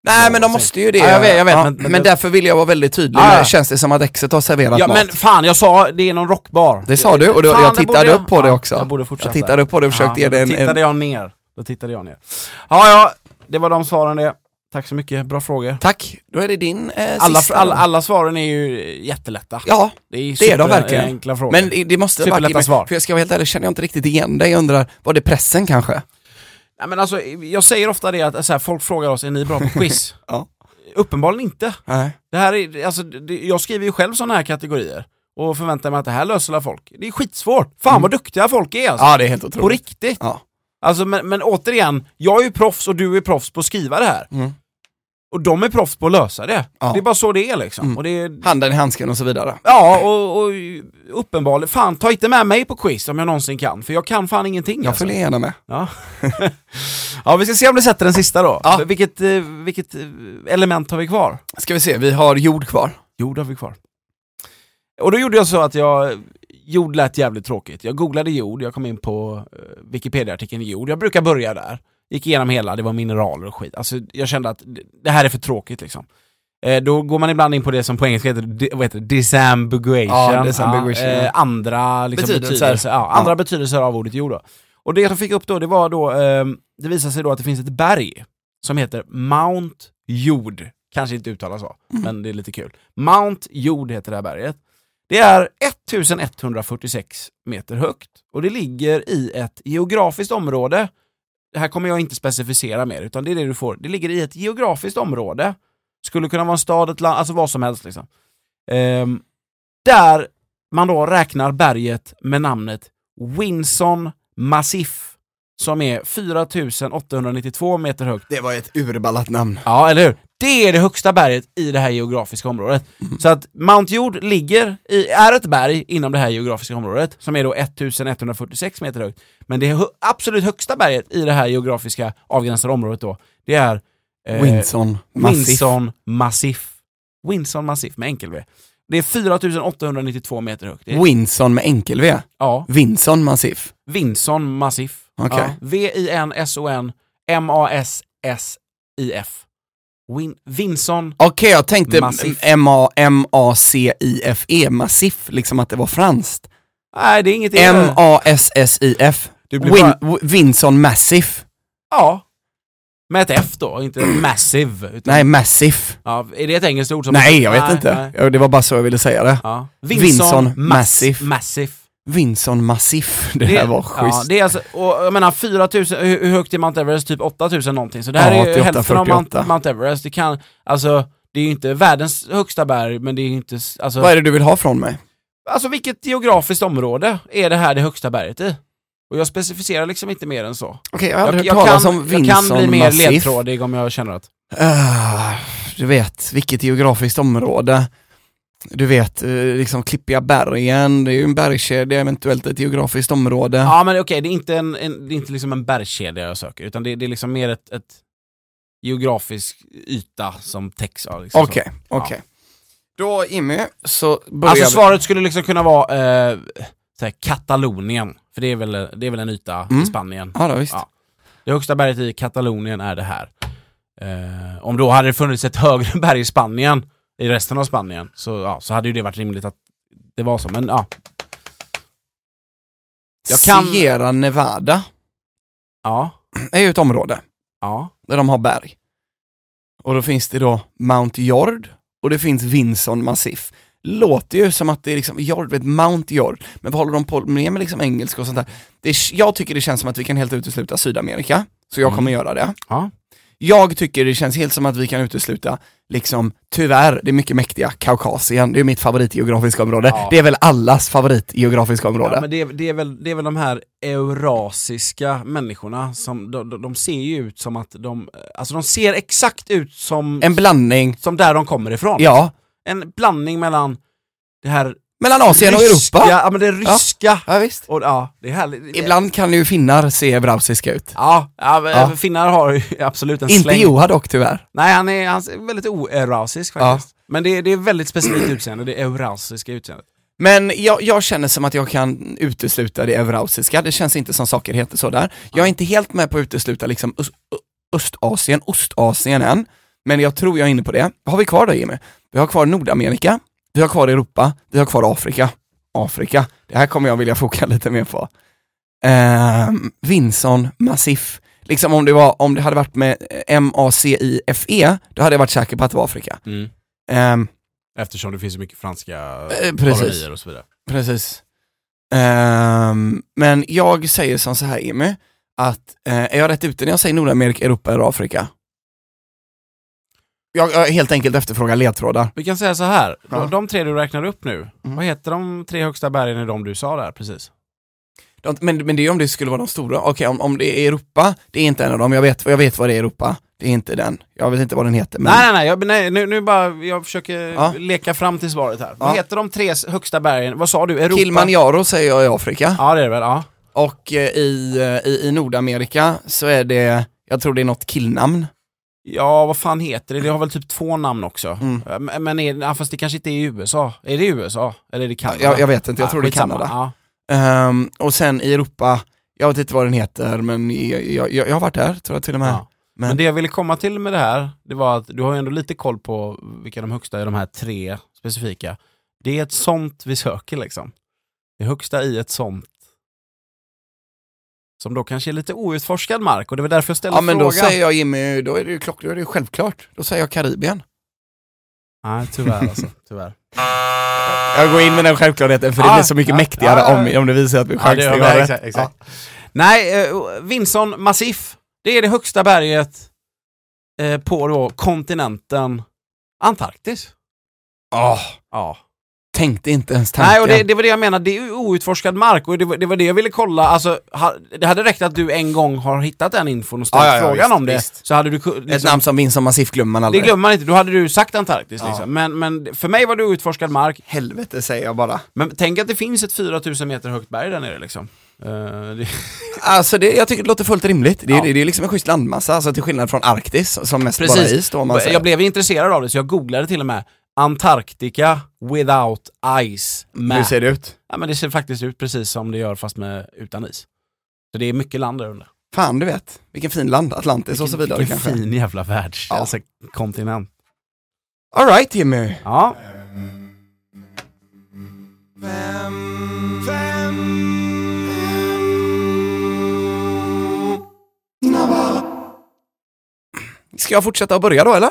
S1: Nej
S2: Ja,
S1: men de
S2: säkert.
S1: måste ju det.
S2: Ja, jag vet, jag vet,
S1: men,
S2: men- men-
S1: därför vill jag vara väldigt tydlig.
S2: Ja, ja.
S1: Här Känns det som att Exet har serverat
S2: Ja
S1: mat?
S2: men fan, jag sa det är någon rockbar.
S1: Det sa du och då,
S2: Fan,
S1: jag
S2: det
S1: tittade
S2: borde
S1: upp på det
S2: ja,
S1: också.
S2: Jag borde
S1: Jag
S2: fortsätta.
S1: tittade upp på det och försökte ge
S2: ja,
S1: dig
S2: då
S1: en,
S2: tittade
S1: en...
S2: jag ner. Då tittade jag ner. Ja, ja, det var de svaren det. Tack så mycket, bra frågor.
S1: Tack, då är det din eh,
S2: Alla,
S1: sista.
S2: alla, alla svaren är ju jättelätta.
S1: Ja,
S2: Det är,
S1: det är de verkligen.
S2: Enkla frågor.
S1: men i- det måste ha
S2: Superlätta
S1: varit...
S2: svar.
S1: För jag ska vara helt ärlig, känner jag inte riktigt igen dig. Jag undrar, var det pressen kanske?
S2: Nej, men alltså, jag säger ofta det att så här, folk frågar oss, är ni bra på quiz?
S1: Ja.
S2: Uppenbarligen inte.
S1: Nej.
S2: Det här är, alltså, det, jag skriver ju själv sådana här kategorier. och förväntar mig att det här löser alla folk. Det är skitsvårt. Fan
S1: Mm.
S2: vad duktiga folk är alltså.
S1: Ja, det är helt otroligt.
S2: På riktigt.
S1: Ja.
S2: Alltså, men, men återigen, jag är ju proffs och du är proffs på att skriva det här.
S1: Mm.
S2: Och de är proffs på att lösa det.
S1: Ja.
S2: Det är bara så det är liksom. Och det är,
S1: Handen i handsken och så vidare.
S2: ja, och, och uppenbarligen, fan ta inte med mig på quiz om jag någonsin kan, för jag kan fan ingenting.
S1: Jag
S2: alltså.
S1: följer gärna med.
S2: Ja. ja, vi ska se om du sätter den sista då.
S1: Ja.
S2: Vilket, eh, vilket eh, element har vi kvar?
S1: Ska vi se, vi har jord kvar.
S2: Jord har vi kvar. Och då gjorde jag så att jag... Jord lät jävligt tråkigt. Jag googlade jord, jag kom in på eh, Wikipedia-artikeln i jord. Jag brukar börja där. Gick igenom hela, det var mineraler och skit. Alltså jag kände att det- det här är för tråkigt liksom. Eh, då går man ibland in på det som på engelska heter, di- vad heter det? disambiguation.
S1: Ja, disambiguation,
S2: eh,
S1: ja.
S2: andra liksom,
S1: Betydelser.
S2: betydelser. ja, andra betydelser av ordet jord då. Och det jag fick upp då, det var då, ehm, det visade sig då att det finns ett berg som heter Mount Jord. Kanske inte uttalas så, men det är lite kul. Mount Jord heter det här berget. Det är 1146 meter högt och det ligger i ett geografiskt område. Det här kommer jag inte specificera mer, utan det är det du får. Det ligger i ett geografiskt område. Skulle kunna vara en stad, ett land, alltså vad som helst liksom. Ehm, där man då räknar berget med namnet Winson Massif som är 4892 meter högt.
S1: Det var ett urballat namn.
S2: Ja, eller hur? Det är det högsta berget i det här geografiska området. Så att Mount Jord ligger i, är ett berg inom det här geografiska området som är då 1146 meter högt. Men det hö- absolut högsta berget i det här geografiska avgränsade området då, det är eh,
S1: Winson. Massif.
S2: Winson Massif. Winson Massif med enkel V. Det är 4892 meter högt. Det är,
S1: Winson med enkel-V.
S2: ja,
S1: Winson Massif.
S2: Vinson Massif.
S1: Okej.
S2: Ja, V-I-N-S-O-N M-A-S-S-I-F. Win- Vinson
S1: Okej, jag tänkte
S2: Massif.
S1: M-A-M-A-C-I-F-E, massif, liksom att det var franskt.
S2: Nej, det är inget E. M-
S1: M-A-S-S-I-F.
S2: Du blir
S1: Win-
S2: bara-
S1: W- Winson Massif.
S2: Ja. Med ett F då, inte massive. Utan,
S1: Nej, Massif.
S2: Ja, är det ett engelskt ord som...
S1: Nej, jag vet
S2: Nej,
S1: inte.
S2: nej.
S1: Ja, Det var bara så jag ville säga det.
S2: Ja.
S1: Vinson Massive.
S2: Massive.
S1: Winson Massif, det, där var
S2: Ja,
S1: schysst.
S2: det är alltså, och jag menar 4000, hur, hur högt är Mount Everest? Typ 8000 någonting. Så det här
S1: Ja,
S2: är ju
S1: 88,
S2: hälften av Mount,
S1: 48.
S2: Mount Everest. Det kan, alltså, det är ju inte världens högsta berg, men det är ju inte, s- alltså...
S1: Vad är det du vill ha från mig?
S2: Alltså vilket geografiskt område är det här det högsta berget i? Och jag specificerar liksom inte mer än så.
S1: Okej, jag har
S2: Jag,
S1: aldrig
S2: jag,
S1: hört talas
S2: kan,
S1: om
S2: jag kan bli
S1: Winson
S2: mer
S1: Massif.
S2: ledtrådig om jag känner att...
S1: Ah, du vet, vilket geografiskt område. Du vet, eh, liksom klippiga bergen, det är ju en bergskedja, eventuellt ett geografiskt område.
S2: Ja men okej, det är inte, en, en, det är inte liksom en bergskedja jag söker, utan det, det är liksom mer ett, ett geografisk yta som täcks av. Liksom,
S1: Okej, okej. Då Jimmy, så
S2: så.
S1: börjar
S2: Alltså
S1: vi-
S2: svaret skulle liksom kunna vara eh, så här, Katalonien, för det är väl, det är väl en yta i
S1: Mm.
S2: Spanien.
S1: Ja, då, visst.
S2: Ja. Det högsta berget i Katalonien är det här. Eh, om då hade det funnits ett högre berg i Spanien, i resten av Spanien, så, ja, så hade ju det varit rimligt att det var så, men ja. Jag kan-
S1: Sierra Nevada
S2: Ja,
S1: är ju ett område
S2: ja.
S1: där de har berg. Och då finns det då Mount Jord och det finns Vinson Massif. Låter ju som att det är liksom Jord, vet, Mount Jord, men vad håller de på med med liksom engelska och sånt där? Det är, jag tycker det känns som att vi kan helt utesluta Sydamerika, så jag
S2: Mm.
S1: kommer göra det.
S2: Ja.
S1: Jag tycker det känns helt som att vi kan utesluta, liksom, tyvärr, det är mycket mäktiga Kaukasien, det är mitt favoritgeografiska område.
S2: Ja.
S1: Det är väl allas favoritgeografiska område.
S2: Ja, men det, är, det, är väl, det är väl de här eurasiska människorna som, de, de, de ser ju ut som att de, alltså de ser exakt ut som,
S1: En blandning,
S2: som där de kommer ifrån.
S1: ja,
S2: En blandning mellan det här
S1: mellan Asien och
S2: ryska,
S1: Europa.
S2: ja men det ryska,
S1: Ja, visst.
S2: och ja, det är härligt.
S1: Ibland kan ju finnar se eurasiska ut.
S2: Ja, ja, men
S1: Ja.
S2: finnar har ju absolut en
S1: Inte
S2: släng.
S1: Joha dock tyvärr.
S2: Nej, han är, han är väldigt oerasisk faktiskt. Men det, är- det är väldigt specifikt utseende, det eurasiska utseendet.
S1: Men jag, jag känner som att jag kan utesluta det eurasiska, det känns inte som saker heter så där. Jag är inte helt med på att utesluta liksom öst, Ö- Östasien, Ostasien än, men jag tror jag är inne på det. Vad har vi kvar då Jimmy? Vi har kvar Nordamerika, vi har kvar Europa, vi har kvar Afrika. Afrika, det här kommer jag vilja foka lite mer på. Ehm, Vinson, Massif, liksom om det, var, om det hade varit med M-A-C-I-F-E, E, då hade jag varit säker på att det var Afrika. Ehm,
S2: Eftersom det finns så mycket franska
S1: Eh, precis. kolonier
S2: och så vidare.
S1: Precis. Ehm, men jag säger som så här Emmy, att eh, är jag rätt ute när jag säger Nordamerika, Europa eller Afrika? jag, jag helt enkelt efterfrågar ledtrådar.
S2: Vi kan säga så här,
S1: Ja. Mm.
S2: de, de tre du räknar upp nu, vad heter de tre högsta bergen i de du sa där precis?
S1: De, men, men det är om det skulle vara de stora. Okej, om, om det är Europa, det är inte en av dem. Jag vet, jag vet vad det är Europa. Det är inte den. Jag vet inte vad den heter. Men...
S2: Nej, nej, nej, jag, nej nu, nu bara, jag försöker
S1: Ja.
S2: leka fram till svaret här.
S1: Ja.
S2: Vad heter de tre s- högsta bergen, vad sa du, Europa?
S1: Kilimanjaro säger jag i Afrika.
S2: Ja det är det väl, ja.
S1: Och eh, i, eh, i, i Nordamerika så är det, jag tror det är något killnamn.
S2: Ja, vad fan heter det? Det har väl typ två namn också. Eh,
S1: Mm.
S2: Men- Men är, ja, fast det kanske inte är i USA. Är det i USA? Eller är det Kanada?
S1: Jag, jag vet inte, jag
S2: Ja,
S1: tror det är
S2: skitsamma.
S1: Kanada.
S2: Ja.
S1: Ehm, och sen i Europa, jag vet inte vad den heter, men jag, jag, jag har varit där tror jag till och med.
S2: Ja. Men... det jag ville komma till med det här, det var att du har ju ändå lite koll på vilka de högsta är, de här tre specifika. Det är ett sånt vi söker liksom. Det högsta i ett sånt. Som då kanske är lite outforskad mark och det var därför jag ställde
S1: Ja men
S2: frågan.
S1: då säger jag Jimmy, då är det ju klock, då är det ju självklart. Då säger jag Karibien.
S2: Nej, tyvärr alltså. Tyvärr.
S1: Jag går in med den självklarheten för
S2: Ah,
S1: det blir så mycket
S2: ja,
S1: mäktigare
S2: ja, ja.
S1: Om, om det visar att vi
S2: Ja,
S1: chansar
S2: det gör
S1: att
S2: vi.
S1: göra
S2: Exakt,
S1: rätt.
S2: exakt. Nej, eh, Vinson Massif. Det är det högsta berget eh, på då kontinenten Antarktis.
S1: Ja. Åh,
S2: Ja.
S1: tänkte inte ens tanken.
S2: Nej, och det, det var det jag menade. Det är ju outforskad mark och det var det, var det jag ville kolla. Alltså, ha, det hade räckt att du en gång har hittat den infon och ställt
S1: Ja, ja, ja,
S2: frågan
S1: visst,
S2: om det.
S1: visst.
S2: Så hade du ku-
S1: Ett
S2: liksom,
S1: namn som Vincent Massif glömmer man
S2: Det
S1: aldrig.
S2: glömmer man inte. Då hade du sagt Antarktis
S1: Ja.
S2: liksom. Men, men för mig var det outforskad mark.
S1: Helvete säger jag bara.
S2: Men tänk att det finns ett 4000 meter högt berg där nere liksom. Eh, det,
S1: Alltså det, jag tycker det låter fullt rimligt. Det, är
S2: Ja.
S1: det, det är liksom en schysst landmassa, alltså till skillnad från Arktis som mest
S2: Precis.
S1: bara är is då om man säger.
S2: jag blev intresserad av det så jag googlade till och med Antarktica without ice map.
S1: Hur ser det ut?
S2: Ja, men det ser faktiskt ut precis som det gör fast med, utan is. Så det är mycket land där under.
S1: Fan du vet, vilken fin land, Atlantis och så vidare
S2: vilken
S1: kanske.
S2: fin jävla världs,
S1: Ja.
S2: alltså kontinent.
S1: Alright Jimmy.
S2: Ja,
S1: Ska jag fortsätta och börja då eller?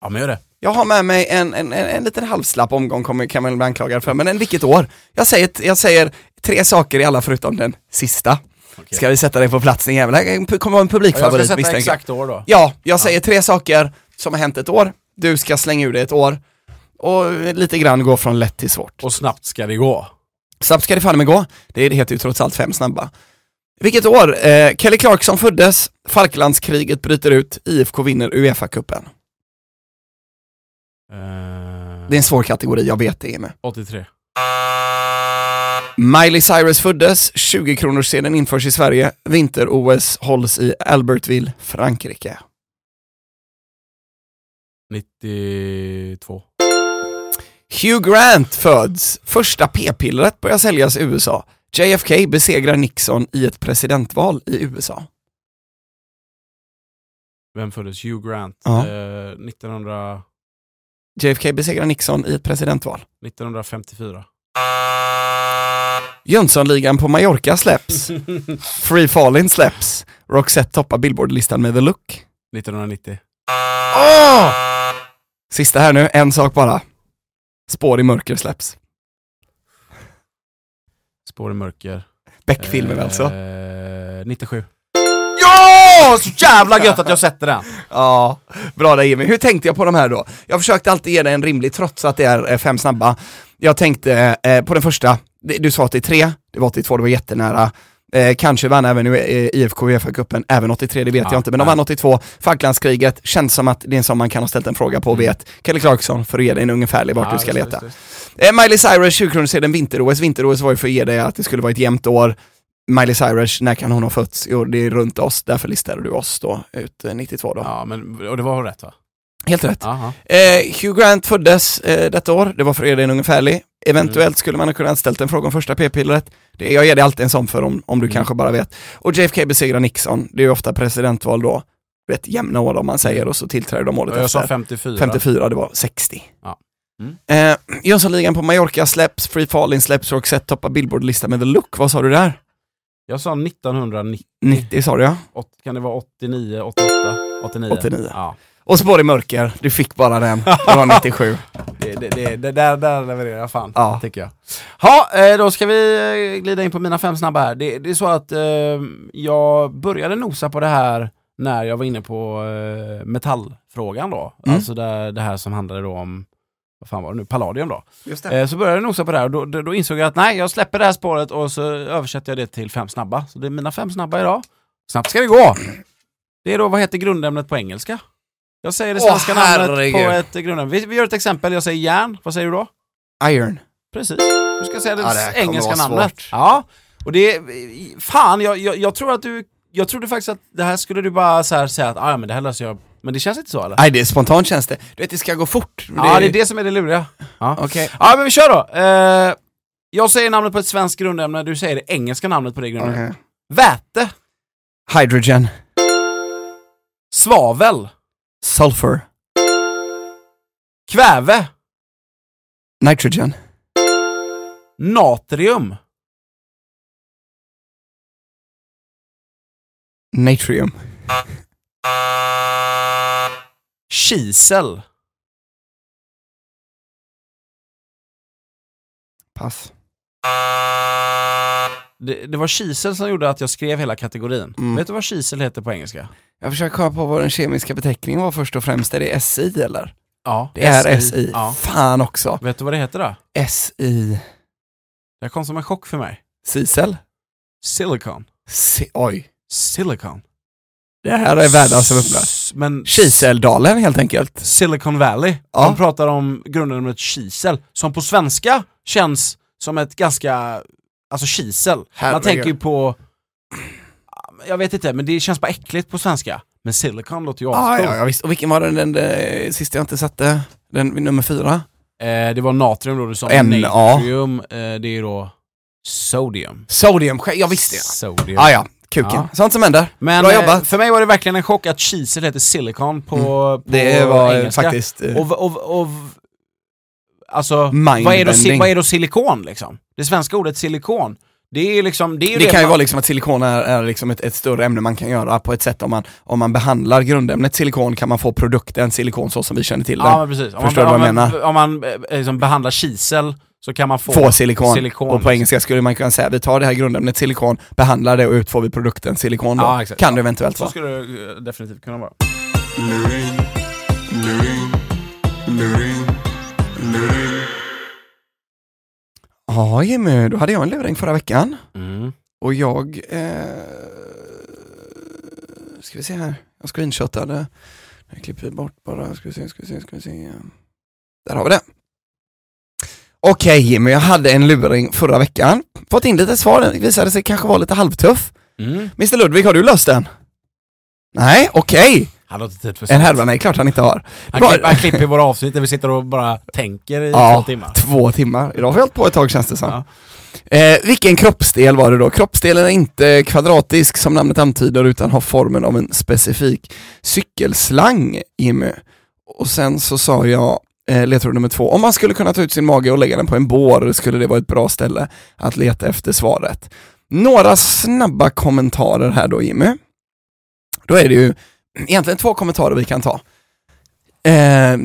S2: ja men gör det.
S1: Jag har med mig en, en, en, en liten halvslapp omgång kommer kan man bli anklagad för, men en vilket år. Jag säger, jag säger tre saker i alla förutom den sista. Ska vi sätta dig på plats din jävel? Det här kommer vara en
S2: Jag ska
S1: publikfavorit
S2: sätta
S1: misstänker jag.
S2: exakt år då.
S1: Ja, jag säger tre saker som har hänt ett år. Du ska slänga ur dig ett år. Och lite grann gå från lätt till svårt.
S2: Och snabbt ska det gå.
S1: Snabbt ska det fan med gå. Det heter ju trots allt fem snabba. Vilket år? Eh, Kelly Clarkson föddes, Falklandskriget bryter ut, IFK vinner Uefa-cupen.
S2: Eh,
S1: Det är en svår kategori, jag vet det Jimmy.
S2: 83.
S1: Miley Cyrus föddes, 20 kronors sedan införs i Sverige, vinter-OS hålls i Albertville, Frankrike.
S2: 92.
S1: Hugh Grant föds, första p-pillret börjar säljas i USA. JFK besegrar Nixon i ett presidentval i USA.
S2: Vem föddes? Hugh Grant.
S1: Ja.
S2: Eh, 1900,
S1: JFK besegrar Nixon i ett presidentval.
S2: 1954.
S1: Jönssonligan på Mallorca släpps. Free Fallin släpps. Roxette toppar Billboard-listan med The Look.
S2: 1990.
S1: Åh! Sista här nu, en sak bara. Spår i mörker släpps.
S2: Spår i mörker.
S1: Beck-filmen
S2: Eh,
S1: alltså.
S2: 97. Ja! Så jävla gött att jag sätter den!
S1: Ja, bra där Jimmy. Hur tänkte jag på de här då? Jag försökte alltid ge dig en rimlig trots att det är eh, fem snabba. Jag tänkte eh, på den första, Det- du sa 83, det var 82, det var jättenära. Eh, kanske vann även nu, eh, IFK Uefa-cupen, även 83, det vet
S2: Ja,
S1: jag inte. Men de
S2: nej.
S1: vann 82, Falklandskriget, känns som att det är en sån man kan ha ställt en fråga på och vet. Kelly Clarkson för att ge dig en ungefärlig vart du ska
S2: Mm. just,
S1: leta.
S2: just, just.
S1: Eh, Miley Cyrus, 20-kronorssedeln vinter-OS. Vinter-OS var ju för att ge dig att det skulle vara ett jämnt år. Miley Cyrus, när kan hon ha fötts? Jo, det är runt oss, därför listade du oss då, ut eh, 92 då.
S2: Ja, men, och det var rätt va?
S1: Helt rätt.
S2: Aha.
S1: Eh, Hugh Grant föddes eh, detta år, det var för er en ungefärlig.
S2: Mm.
S1: Eventuellt skulle man ha kunnat ställt en fråga om första p-pillret. Det, jag ger dig alltid en sån för om, om du
S2: Mm.
S1: kanske bara vet. Och JFK besegrar Nixon, det är ju ofta presidentval då. Vet, jämna år om man säger och så tillträder de året
S2: Och Mm. jag sa
S1: efter.
S2: 54.
S1: 54, det var 60.
S2: Ja. Mm.
S1: Eh, Jönssonligan på Mallorca släpps, Free Fallin släpps, Roxette toppar Billboard-listan med The Look. Vad sa du där?
S2: Jag sa 1990.
S1: 90 sa du ja.
S2: Åt- Kan det vara 89, 88, 89?
S1: 89.
S2: Ja.
S1: Och Spår i mörker, du fick bara den. Det var 97.
S2: Det, det, det, det där, där levererar jag fan,
S1: Ja.
S2: tycker jag. Ja, eh, då ska vi eh, glida in på mina fem snabba här. Det, det är så att eh, jag började nosa på det här när jag var inne på eh, metallfrågan då,
S1: Mm.
S2: alltså det, det här som handlade då om, vad fan var det nu, palladium då.
S1: Just
S2: Eh, så började jag nosa på det här och då, då, då insåg jag att nej, jag släpper det här spåret och så översätter jag det till fem snabba. Så det är mina fem snabba idag. Snabbt ska det gå! Det är då, vad heter grundämnet på engelska? Jag säger det
S1: Åh,
S2: svenska namnet på
S1: herregud.
S2: ett eh, grundämne. Vi, vi gör ett exempel, jag säger järn, vad säger du då?
S1: Eh, Iron.
S2: Precis. Du ska säga det,
S1: Ja, det här kommer
S2: engelska
S1: vara
S2: namnet.
S1: svårt.
S2: Ja, och det är... Fan, jag, jag, jag tror att du... Jag trodde faktiskt att det här skulle du bara så här säga att ah, ja, men det här löser jag. Men det känns inte så eller?
S1: Nej det är spontant känns det. Du vet det ska gå fort.
S2: ja, det är det som är det luriga. Ja,
S1: Okej.
S2: ja men vi kör då. Eh, jag säger namnet på ett svenskt grundämne, du säger det engelska namnet på det grundämnet.
S1: Okej.
S2: Väte,
S1: Hydrogen.
S2: svavel,
S1: Sulfur.
S2: kväve,
S1: Nitrogen.
S2: natrium,
S1: Natrium.
S2: kisel,
S1: Pass.
S2: det, det var kisel som gjorde att jag skrev hela kategorin.
S1: Mm.
S2: Vet du vad kisel heter på engelska?
S1: Jag försöker komma på vad den kemiska beteckningen var först och främst. Är det SI eller?
S2: Ja,
S1: Det är SI.
S2: Ja.
S1: Fan också.
S2: Vet du vad det heter då?
S1: SI.
S2: Det kom som en chock för mig.
S1: Sisel?
S2: Silicon.
S1: Si- Oj.
S2: Silicon.
S1: Det här är världens upplöst.
S2: S- Men
S1: Kiseldalen helt enkelt.
S2: Silicon Valley.
S1: Ja.
S2: De pratar om grundnamnet kisel, som på svenska känns som ett ganska, alltså kisel. Man
S1: Herregud.
S2: tänker ju på, jag vet inte, men det känns bara äckligt på svenska. Men silicon låter ju
S1: Ah, Ja,
S2: ascoolt.
S1: ja, ja, visst. Och vilken var den, den, eh, sista jag inte satte? Den nummer fyra?
S2: eh, Det var natrium då du sa,
S1: En, ja.
S2: natrium, eh, det är ju då sodium.
S1: Sodium, jag visste det.
S2: Sodium.
S1: Ah, ja, kuken.
S2: Ja.
S1: Sånt som händer.
S2: Men
S1: Bra
S2: eh,
S1: jobbat.
S2: för mig var det verkligen en chock att kisel heter silicon på, på
S1: Det var eh,
S2: engelska.
S1: faktiskt... eh,
S2: Och, v- och, v- och, v- alltså, vad är, då, si-
S1: Mindbending.
S2: vad är då silikon liksom? Det svenska ordet silikon, det är ju liksom, det är ju
S1: Det kan ju
S2: man-
S1: vara liksom att silikon är, är liksom ett, ett större ämne man kan göra på ett sätt om man, om man behandlar grundämnet silikon kan man få produkten silikon så som vi känner till den.
S2: Ja men precis. Om
S1: Förstår du
S2: man,
S1: vad jag
S2: om man, om man eh, liksom behandlar kisel så kan man få,
S1: få silikon.
S2: silikon,
S1: och på
S2: liksom.
S1: engelska skulle man kunna säga vi tar det här grundämnet silikon, behandlar det och ut får vi produkten silikon då.
S2: Ja, exakt.
S1: kan det eventuellt
S2: Så
S1: vara.
S2: skulle det eh, definitivt kunna vara.
S1: Ja Jimmy, då hade jag en luring förra veckan
S2: Mm.
S1: och jag... Eh, ska vi se här, jag screenshotade. Jag klipper bort bara, ska vi se, ska vi se, ska vi se. Där har vi det. Okej Jimmy, jag hade en luring förra veckan. Fått in lite svar, den visade sig kanske vara lite halvtuff.
S2: Mm.
S1: Mr Ludvig, har du löst den? Nej, okej.
S2: Han har inte tid för
S1: En
S2: sånt.
S1: härva? Nej, klart han inte har.
S2: Han,
S1: Bra.
S2: klipp, han klipper våra avsnitt där vi sitter och bara tänker i
S1: Ja.
S2: två timmar.
S1: Två timmar. Idag har vi hållit på ett tag känns det som. Eh, vilken kroppsdel var det då? Kroppsdelen är inte kvadratisk som namnet antyder utan har formen av en specifik cykelslang, Jimmy. Och sen så sa jag, eh, ledtråd nummer två, om man skulle kunna ta ut sin mage och lägga den på en bår skulle det vara ett bra ställe att leta efter svaret. Några snabba kommentarer här då Jimmy. Då är det ju egentligen två kommentarer vi kan ta. Eh,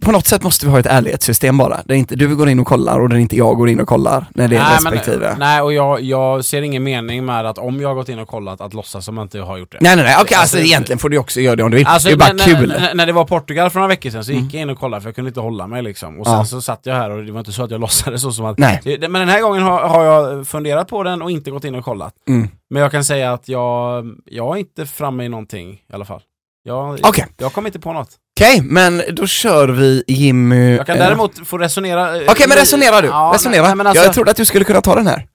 S1: på något sätt måste vi ha ett ärlighetssystem bara, där inte du går in och kollar och där inte jag går in och kollar när det är
S2: Nej, men-
S1: respektive.
S2: nej, och jag, jag ser ingen mening med att om jag har gått in och kollat, att låtsas som att jag inte har gjort det.
S1: Nej nej nej, okej alltså,
S2: Alltså,
S1: egentligen får du också göra det om du vill.
S2: Alltså,
S1: det är bara
S2: när,
S1: kul.
S2: När, när, när det var Portugal för några veckor sedan så gick
S1: Mm.
S2: jag in och kollade för jag kunde inte hålla mig liksom. Och sen
S1: Ja.
S2: så satt jag här och det var inte så att jag låtsades så som att...
S1: Nej.
S2: Det- Men den här gången har, har jag funderat på den och inte gått in och kollat.
S1: Mm.
S2: Men jag kan säga att jag, jag är inte framme i någonting i alla fall. Jag,
S1: Okej.
S2: jag kom inte på något.
S1: Okej, men då kör vi Jimmy.
S2: Jag kan
S1: eh,
S2: däremot få resonera... eh,
S1: Okej men resonera du, resonera.
S2: Nej, nej, men alltså,
S1: Jag trodde att du skulle kunna ta den här.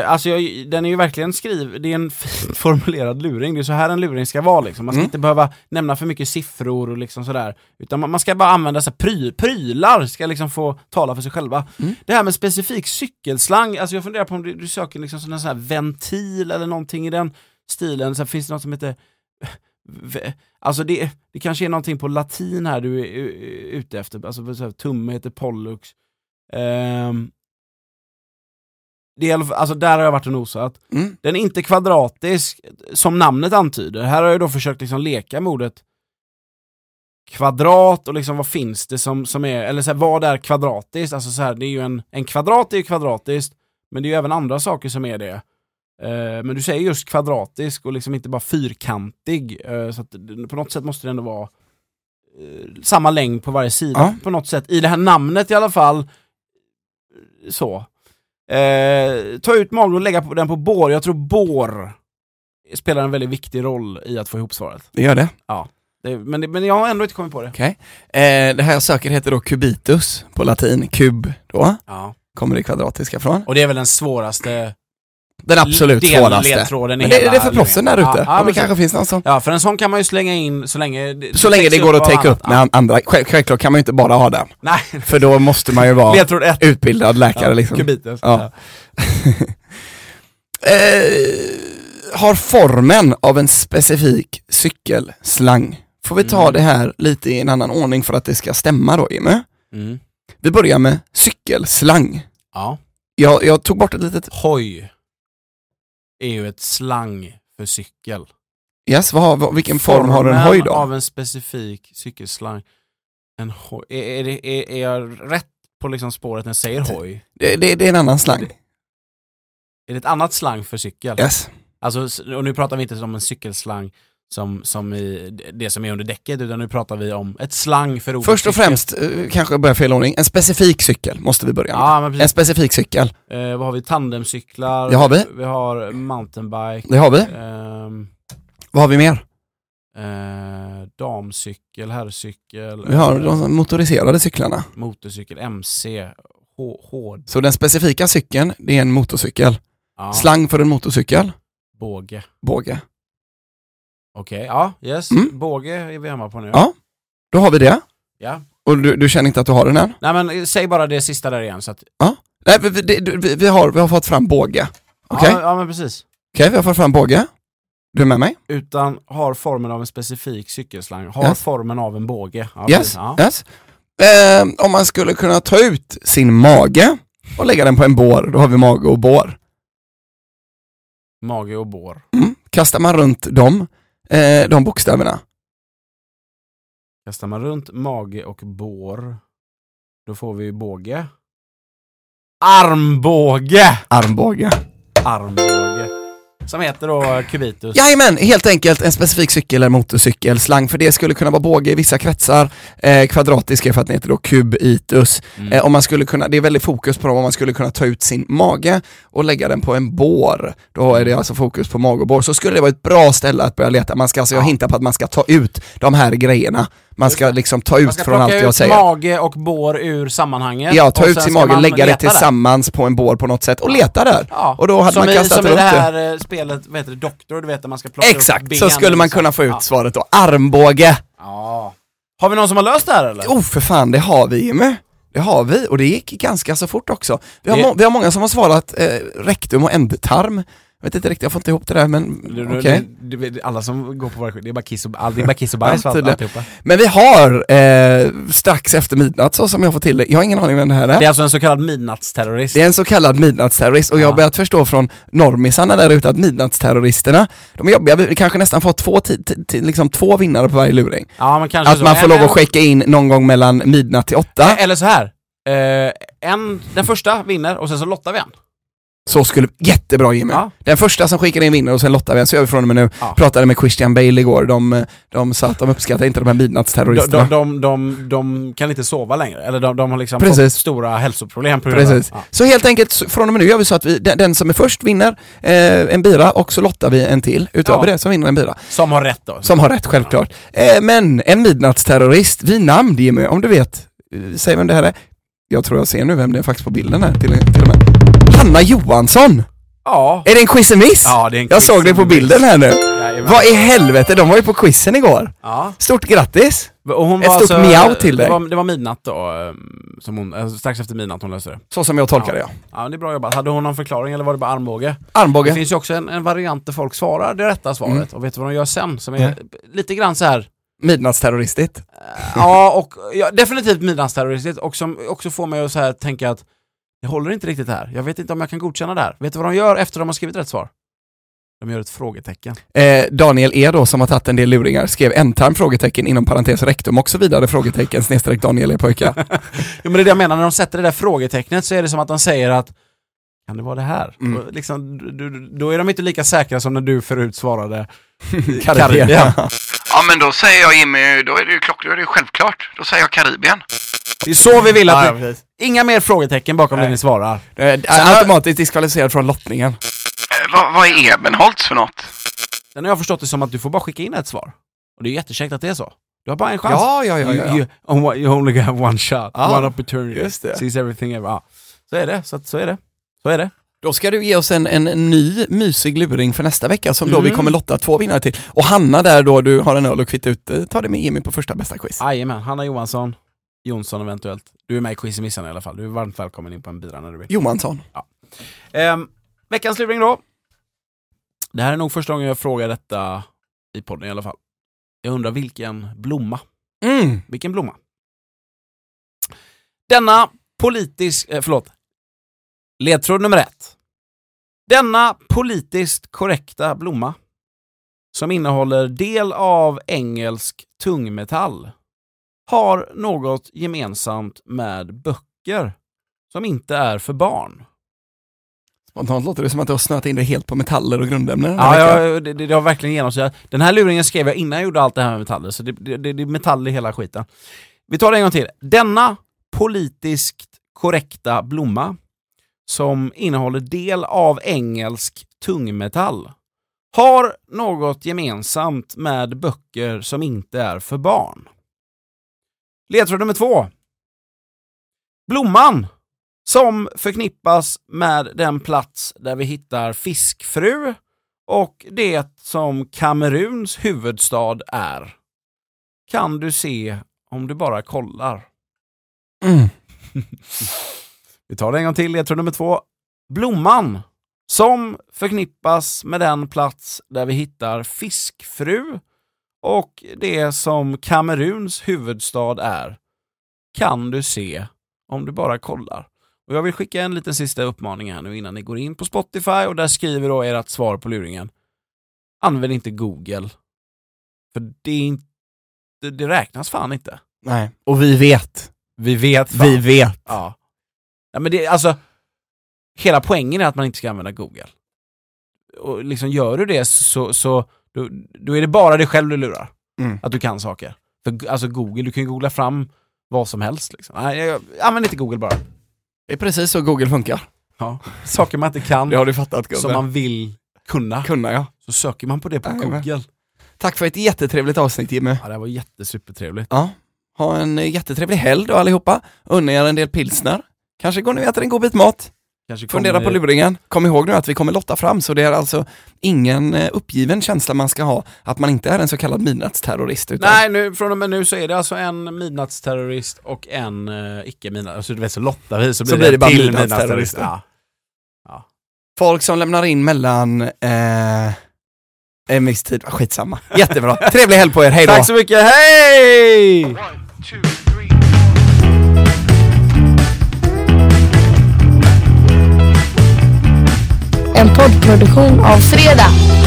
S2: Eh, alltså jag, den är ju verkligen skriv, det är en fint formulerad luring, det är så här en luring ska vara liksom. Man ska
S1: Mm.
S2: inte behöva nämna för mycket siffror och liksom sådär. Utan man, man ska bara använda så här, pry, prylar, ska liksom få tala för sig själva.
S1: Mm.
S2: Det här med specifik cykelslang, alltså jag funderar på om du, du söker liksom sån här, sån här ventil eller någonting i den stilen. Så här, finns det något som heter... v- Alltså det, det kanske är någonting på latin här du är u- ute efter, alltså så här, tumme heter pollux. Ehm, det är, i alla fall- alltså där har jag varit och nosat.
S1: Mm.
S2: Den är inte kvadratisk, som namnet antyder. Här har jag då försökt liksom leka med ordet kvadrat och liksom vad finns det som, som är, eller så här, vad är kvadratiskt? Alltså så här, det är ju en, en kvadrat är ju kvadratiskt, men det är ju även andra saker som är det. Eh, Men du säger just kvadratisk och liksom inte bara fyrkantig. eh, Så att det- på något sätt måste det ändå vara eh, samma längd på varje sida
S1: Ja.
S2: på något sätt. I det här namnet i alla fall. Så. Eh, ta ut magen och lägga på den på bår. Jag tror bår spelar en väldigt viktig roll i att få ihop svaret.
S1: Det gör det.
S2: Det, men, det, men jag har ändå inte kommit på det.
S1: Eh, det här jag söker heter då cubitus på latin, kub då,
S2: Ja.
S1: kommer det kvadratiska från.
S2: Och det är väl den svåraste
S1: Den absolut
S2: del-
S1: svåraste.
S2: ledtråden i
S1: Men det,
S2: hela
S1: det är för proffsen där ute.
S2: Ja,
S1: Ja,
S2: ja,
S1: men det
S2: men så-
S1: kanske finns någon som...
S2: Ja, för en sån kan man ju slänga in så länge det,
S1: Så länge det
S2: täcks
S1: går att
S2: av
S1: take
S2: annat.
S1: upp med andra. Själv- Självklart kan man ju inte bara ha den.
S2: Nej,
S1: För då måste man ju vara
S2: ledtråd ett.
S1: utbildad läkare liksom.
S2: Kubiten.
S1: Ja. Eh, har formen av en specifik cykelslang. Får vi ta
S2: Mm.
S1: det här lite i en annan ordning för att det ska stämma då, Jimmy?
S2: Mm.
S1: Vi börjar med cykelslang.
S2: ja.
S1: Jag, jag tog bort ett litet...
S2: Hoj är ju ett slang för cykel.
S1: Yes, vad har, vad, vilken form har en
S2: Formen
S1: hoj då?
S2: av en specifik cykelslang. En hoj. Är, är, det- är, är jag rätt på liksom spåret när jag säger hoj?
S1: Det, det, det är en annan slang.
S2: Är det ett annat slang för cykel?
S1: Yes.
S2: Alltså, s- och nu pratar vi inte om en cykelslang som, som i d- det som är under däcket, utan nu pratar vi om ett slang för ordet
S1: Först och
S2: cykel.
S1: främst, eh, kanske jag börjar fel ordning, en specifik cykel måste vi börja med.
S2: Ja, men
S1: En
S2: precis.
S1: specifik cykel,
S2: Eh, vad har vi? Tandemcyklar.
S1: Det har vi.
S2: Vi har mountainbike.
S1: det har vi.
S2: ehm,
S1: Vad har vi mer?
S2: eh, damcykel, herrcykel.
S1: Vi har
S2: eh,
S1: de motoriserade cyklarna.
S2: motorcykel, MC, hå- hård,
S1: Så den specifika cykeln, det är en motorcykel.
S2: ja,
S1: Slang för en motorcykel,
S2: båge.
S1: båge.
S2: Okej, ja, yes.
S1: Mm.
S2: Båge är vi hemma på nu.
S1: Ja. Då har vi det.
S2: Ja.
S1: Och du, du känner inte att du har den än?
S2: Nej men eh, säg bara det sista där igen så att...
S1: Nej, vi, vi, det- vi, vi, har, vi har fått fram båge. Okej,
S2: Ja, ja men precis.
S1: Okej, vi har fått fram båge. Du är med mig?
S2: Utan har formen av en specifik cykelslang, har
S1: Yes.
S2: formen av en båge. Ja, precis.
S1: Yes.
S2: Ja.
S1: yes. Eh, om man skulle kunna ta ut sin mage och lägga den på en bår, då har vi mage och bår.
S2: Mage och bår.
S1: Mm. Kastar man runt dem, eh, de bokstäverna,
S2: Kastar man runt mage och bår, då får vi ju båge. Armbåge!
S1: armbåge.
S2: Armbåge. Som heter då eh, kubitus.
S1: Jajamän, helt enkelt en specifik cykel eller motorcykel, slang för det skulle kunna vara båge i vissa kretsar, eh, kvadratisk är för att den heter då kubitus.
S2: Mm.
S1: Eh, om man skulle kunna, det är väldigt fokus på dem, om man skulle kunna ta ut sin mage och lägga den på en bår, då är det alltså fokus på mage och bår, så skulle det vara ett bra ställe att börja leta. Man ska, alltså, jag
S2: Ja.
S1: hintar på att man ska ta ut de här grejerna, man ska liksom ta
S2: Man
S1: ut
S2: ska
S1: från
S2: plocka
S1: allt jag
S2: ut
S1: säger.
S2: mage och bår ur sammanhanget.
S1: Ja, ta
S2: och
S1: ut
S2: sen
S1: sin
S2: ska
S1: mage,
S2: man
S1: lägga det
S2: leta
S1: tillsammans på en bår på något sätt och leta där.
S2: Ja.
S1: Och då hade
S2: som
S1: man
S2: i,
S1: kastat
S2: som i
S1: runt
S2: det
S1: det.
S2: här eh, spelet, vad heter det, Doktor, du vet där man ska plocka upp
S1: Exakt,
S2: ben
S1: så skulle man
S2: liksom.
S1: kunna få ut
S2: Ja.
S1: svaret då. Armbåge!
S2: ja. Har vi någon som har löst det här eller?
S1: Oh för fan, det har vi Jimmy! Det har vi, och det gick ganska så fort också. Vi har,
S2: Det-
S1: må- vi har många som har svarat eh, rektum och ändtarm. Jag vet inte riktigt, jag får inte ihop det där men
S2: Du-
S1: okej.
S2: du- du- du- Alla som går på våra skit, det är bara kiss och, all- det är bara kiss och bajs
S1: Ja,
S2: allt-
S1: tydligen.
S2: alltihopa.
S1: Men vi har eh, strax efter midnatt så som jag får till det. Jag har ingen aning vem det här är.
S2: Det är alltså en så kallad midnattsterrorist.
S1: Det är en så kallad midnattsterrorist och jag
S2: Ja.
S1: har börjat förstå från normisarna där ute att midnattsterroristerna, de är jobbiga. Vi kanske nästan får två, ti- ti- ti- liksom två vinnare på varje luring.
S2: Ja, men kanske
S1: Att
S2: så.
S1: man får
S2: En-
S1: lov
S2: en-
S1: att skicka in någon gång mellan midnatt till åtta.
S2: Eller så här. Eh, en, den första vinner och sen så lottar vi en.
S1: Så skulle, jättebra Jimmy.
S2: Ja.
S1: Den första som skickar in vinner och sen lottar vi, så gör vi från och med nu.
S2: Ja.
S1: Pratade med Christian Bale igår, de, de sa att de uppskattar inte de här
S2: De,
S1: midnattsterroristerna.
S2: de, de, de, de kan inte sova längre, eller de, de har liksom fått
S1: Precis.
S2: stora hälsoproblem på grund av
S1: Precis.
S2: ja.
S1: Så helt enkelt, så- från och med nu gör vi så att vi, den, den som är först vinner eh, en bira och så lottar vi en till utöver
S2: Ja.
S1: det som vinner en bira.
S2: Som har rätt då.
S1: Som har rätt självklart. Eh, men en midnattsterrorist vid namn Jimmy, om du vet, eh, säg vem det här är. Jag tror jag ser nu vem det är faktiskt på bilden här till, till och med. Hanna Johansson!
S2: Ja.
S1: Är det en quiz and miss?
S2: ja, det är en
S1: Jag såg det på bilden här nu.
S2: Jajamän.
S1: Vad i helvete, de var ju på quizen igår.
S2: Ja.
S1: Stort grattis!
S2: Och hon
S1: Ett
S2: var
S1: stort
S2: alltså,
S1: miau till
S2: det
S1: dig.
S2: var, det var midnatt då, eh, som hon, eh, strax efter midnatt hon löste det.
S1: Så som jag tolkar det ja.
S2: Ja, det är bra jobbat. Hade hon någon förklaring eller var det bara armbåge? Det
S1: Armbåge.
S2: finns ju också en, en variant där folk svarar det rätta svaret
S1: Mm.
S2: och vet du vad de gör sen? Som är lite grann så här eh,
S1: Midnattsterroristigt.
S2: Ja, och ja, definitivt midnattsterroristiskt och som också får mig att så här tänka att det håller inte riktigt här. Jag vet inte om jag kan godkänna det här. Vet du vad de gör efter de har skrivit rätt svar? De gör ett frågetecken.
S1: Eh, Daniel E då, som har tagit en del luringar, skrev ändtarm? frågetecken inom parentes rektum och så vidare frågetecken snedstreck Daniel E pojkar.
S2: Jo men det är det jag menar, när de sätter det där frågetecknet så är det som att de säger att kan det vara det här?
S1: Mm.
S2: Och liksom, du, du, då är de inte lika säkra som när du förut svarade Karibien.
S3: Ja, men då säger jag Jimmy, då är det ju klock, då är det ju självklart. Då säger jag Karibien.
S2: Det är så vi vill att...
S1: Ja,
S2: det-
S1: precis.
S2: inga mer frågetecken bakom det ni svarar.
S1: Du är Eh, automatiskt diskvalificerad från lottningen.
S3: Eh, vad, vad är Ebenholts för något?
S2: Sen har jag förstått det som att du får bara skicka in ett svar. Och det är jättekäckt att det är så. Du har bara en chans.
S1: Ja, ja, ja,
S2: You,
S1: ja.
S2: you, on one- you only got one shot,
S1: Ja,
S2: one opportunity.
S1: just det.
S2: Sees everything ever. Ja. Så är det, så, att, så är det. Så är det.
S1: Då ska du ge oss en, en ny mysig luring för nästa vecka som då vi
S2: Mm.
S1: kommer lotta två vinnare till. Och Hanna där då, du har en öl och kvitt ut, eh, ta det med Jimmy på första bästa quiz.
S2: Jajamän, Hanna Johansson, Jonsson eventuellt. Du är med i quizmissarna i alla fall. Du är varmt välkommen in på en bira när du vill.
S1: Johansson.
S2: Ehm, veckans luring då. Det här är nog första gången jag frågar detta i podden i alla fall. Jag undrar vilken blomma
S1: Mm.
S2: Vilken blomma? Denna politisk... Eh, förlåt. Ledtråd nummer ett. Denna politiskt korrekta blomma som innehåller del av engelsk tungmetall har något gemensamt med böcker som inte är för barn.
S1: Spontant låter det som att du har snöat in dig helt på metaller och grundämnen. den här
S2: Ja,
S1: veckan.
S2: jag, det, det det har verkligen genomsyrat. Den här luringen skrev jag innan jag gjorde allt det här med metaller, så det, det, det, det är metall i hela skiten. Vi tar det en gång till. Denna politiskt korrekta blomma som innehåller del av engelsk tungmetall har något gemensamt med böcker som inte är för barn. Ledtråd nummer två. Blomman som förknippas med den plats där vi hittar fiskfru och det som Kameruns huvudstad är kan du se om du bara kollar.
S1: Mm.
S2: Vi tar det en gång till, ledtråd nummer två. Blomman, som förknippas med den plats där vi hittar fiskfru och det som Kameruns huvudstad är, kan du se om du bara kollar. Och jag vill skicka en liten sista uppmaning här nu innan ni går in på Spotify och där skriver då ert svar på luringen. Använd inte Google. För det, är inte, det- det räknas fan inte.
S1: Nej. Och vi vet.
S2: Vi vet
S1: Vi vet.
S2: Ja. ja men det, alltså, hela poängen är att man inte ska använda Google. Och liksom gör du det så, så då, då är det bara dig själv du lurar.
S1: Mm.
S2: Att du kan saker. För go- alltså Google, du kan ju googla fram vad som helst. Liksom. Nej, jag, använd inte Google bara.
S1: Det är precis så Google funkar.
S2: Ja. Saker man inte kan,
S1: Det har du fattat gubben.
S2: som man vill kunna,
S1: kunna ja.
S2: så söker man på det på
S1: Nej, men-
S2: Google.
S1: Tack för ett jättetrevligt avsnitt Jimmy.
S2: Ja, det här var jättesupertrevligt.
S1: Ja. Ha en eh, jättetrevlig helg då allihopa. Unna er en del pilsner. Kanske går ni och äter en god bit mat.
S2: Kanske
S1: Fundera
S2: kommer-
S1: på luringen. Kom ihåg nu att vi kommer lotta fram, så det är alltså ingen eh, uppgiven känsla man ska ha, att man inte är en så kallad midnattsterrorist. Utan
S2: Nej, nu, från och med nu så är det alltså en midnattsterrorist och en eh, icke midnatt... Alltså du vet, så lottar vi så blir,
S1: Så blir det bara
S2: till
S1: midnattsterrorist.
S2: midnattsterrorist. Ja.
S1: Folk som lämnar in mellan eh, en viss tid, Ah, skitsamma. Jättebra. Trevlig helg på er, hej då!
S2: Tack så mycket, hej!
S3: One, two, three, four.
S4: En poddproduktion av Fredag.